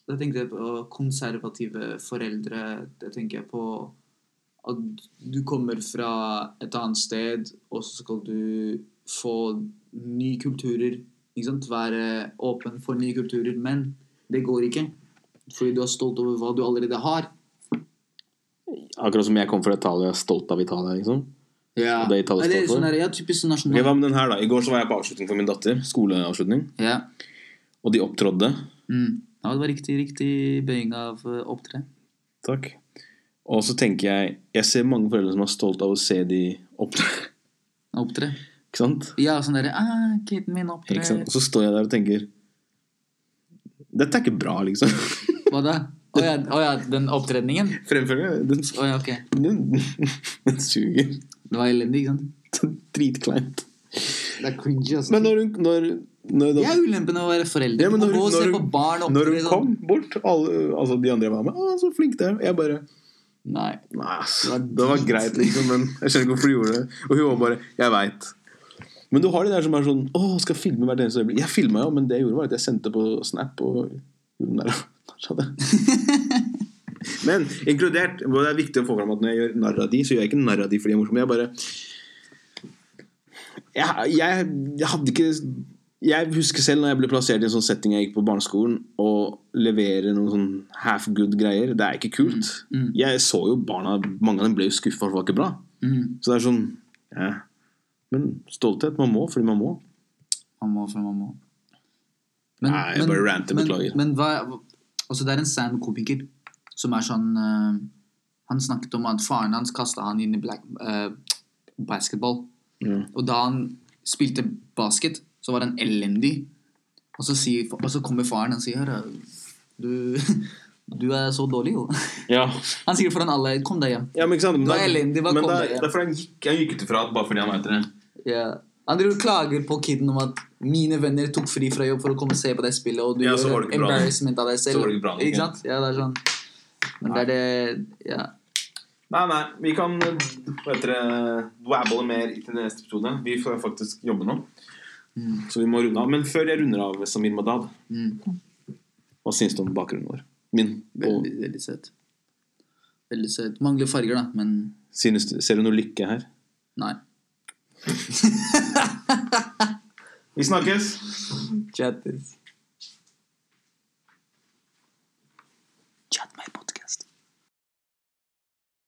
[SPEAKER 1] Da tenkte jeg på konservative foreldre. Da tenker jeg på at du kommer fra et annet sted, og så skal du få nye kulturer. Ikke sant? Være åpen for nye kulturer. Men det går ikke. Fordi du er stolt over hva du allerede har.
[SPEAKER 2] Akkurat som jeg kom fra Italia, stolt av Italia, liksom.
[SPEAKER 1] Ja.
[SPEAKER 2] Og det Italia står
[SPEAKER 1] Eller
[SPEAKER 2] for?
[SPEAKER 1] sånn der, ja, typisk sånn
[SPEAKER 2] Ok,
[SPEAKER 1] nasjonal
[SPEAKER 2] hva med den her, da? I går så var jeg på avslutning for min datter. Skoleavslutning.
[SPEAKER 1] ja.
[SPEAKER 2] Og de opptrådde.
[SPEAKER 1] Mm. ja, det var riktig, riktig bøying av eh, opptre.
[SPEAKER 2] Takk. Og så tenker jeg Jeg ser mange foreldre som er stolt av å se de opptre.
[SPEAKER 1] Opptre.
[SPEAKER 2] Ikke sant?
[SPEAKER 1] Ja, sånn derre ah, 'Kiden min opptre'.
[SPEAKER 2] Ikke sant? Og så står jeg der og tenker Dette er ikke bra, liksom.
[SPEAKER 1] Hva da? Å ja, å ja, den opptredningen?
[SPEAKER 2] Fremføringen den,
[SPEAKER 1] Å ja, ok.
[SPEAKER 2] den, den suger.
[SPEAKER 1] Det var elendig, ikke sant?
[SPEAKER 2] Dritkleint.
[SPEAKER 1] Det er cringy,
[SPEAKER 2] Men når hun når, når,
[SPEAKER 1] Det er ulempen med å være forelder.
[SPEAKER 2] altså. Ja, men
[SPEAKER 1] du må
[SPEAKER 2] når hun-
[SPEAKER 1] gå og se
[SPEAKER 2] når
[SPEAKER 1] på
[SPEAKER 2] hun-
[SPEAKER 1] barn opptre
[SPEAKER 2] når hun
[SPEAKER 1] sånn.
[SPEAKER 2] kom bort, alle, altså de andre jeg var med Å, så flink du er. Jeg bare
[SPEAKER 1] Nei.
[SPEAKER 2] Nei, ass.
[SPEAKER 1] Det var
[SPEAKER 2] Det var greit, liksom, men jeg skjønner ikke hvorfor du gjorde det. Og hun var bare Jeg veit. Men du har de der som er sånn Å, skal filme hvert eneste øyeblikk. Jeg filma jo, men det jeg gjorde, var at jeg sendte på Snap og gjorde den der. Kanskje hadde. Men inkludert og Det er viktig å få fram at når jeg gjør narr av de, så gjør jeg ikke narr av de fordi jeg er morsom. Jeg bare jeg, jeg, jeg hadde ikke Jeg husker selv når jeg ble plassert i en sånn setting jeg gikk på barneskolen, og levere noen sånn half good greier. Det er ikke kult.
[SPEAKER 1] Mm.
[SPEAKER 2] Jeg så jo barna Mange av dem ble jo skuffa, for det var ikke bra.
[SPEAKER 1] Mm.
[SPEAKER 2] Så det er sånn ja. Men stolthet. Man må fordi man må.
[SPEAKER 1] Mamma for mamma.
[SPEAKER 2] Nei, jeg bare ranter, beklager.
[SPEAKER 1] Men, men hva, altså det er en standup-komiker som er sånn eh, Han snakket om at faren hans kasta han inn i black, eh, basketball.
[SPEAKER 2] Ja.
[SPEAKER 1] Og da han spilte basket, så var han elendig. Og så, sier, og så kommer faren og sier «Hør, du, du er så dårlig, jo.
[SPEAKER 2] Ja.
[SPEAKER 1] Han sier foran alle 'kom deg hjem'.
[SPEAKER 2] men ikke sant Men,
[SPEAKER 1] Det var elendig, hva
[SPEAKER 2] men
[SPEAKER 1] kom
[SPEAKER 2] da,
[SPEAKER 1] det igjen?
[SPEAKER 2] derfor han gikk han gikk ut ifra at bare fordi han veit det.
[SPEAKER 1] Ja. Han driver og klager på kiden om at 'mine venner tok fri fra jobb for å komme og se på deg spille', og du
[SPEAKER 2] Ja, så var
[SPEAKER 1] gjør en
[SPEAKER 2] det ikke bra nok.
[SPEAKER 1] embarrassment av deg selv.
[SPEAKER 2] Så var det ikke bra nok, ja.
[SPEAKER 1] sant? Ja, det er sånn. Men det er det Ja.
[SPEAKER 2] Nei, nei. Vi kan eh, hva heter det, dwabble mer i til neste episode. Vi får faktisk jobbe nå. Så vi må runde av. Men før jeg runder av, Samir Madad,
[SPEAKER 1] Mm.
[SPEAKER 2] hva syns du om bakgrunnen vår? Min. Og
[SPEAKER 1] Veldig, veldig søt. Veldig søt. Mangler farger, da, men
[SPEAKER 2] synes, du- ser du noe lykke her?
[SPEAKER 1] nei.
[SPEAKER 2] Vi snakkes!
[SPEAKER 1] Chatters.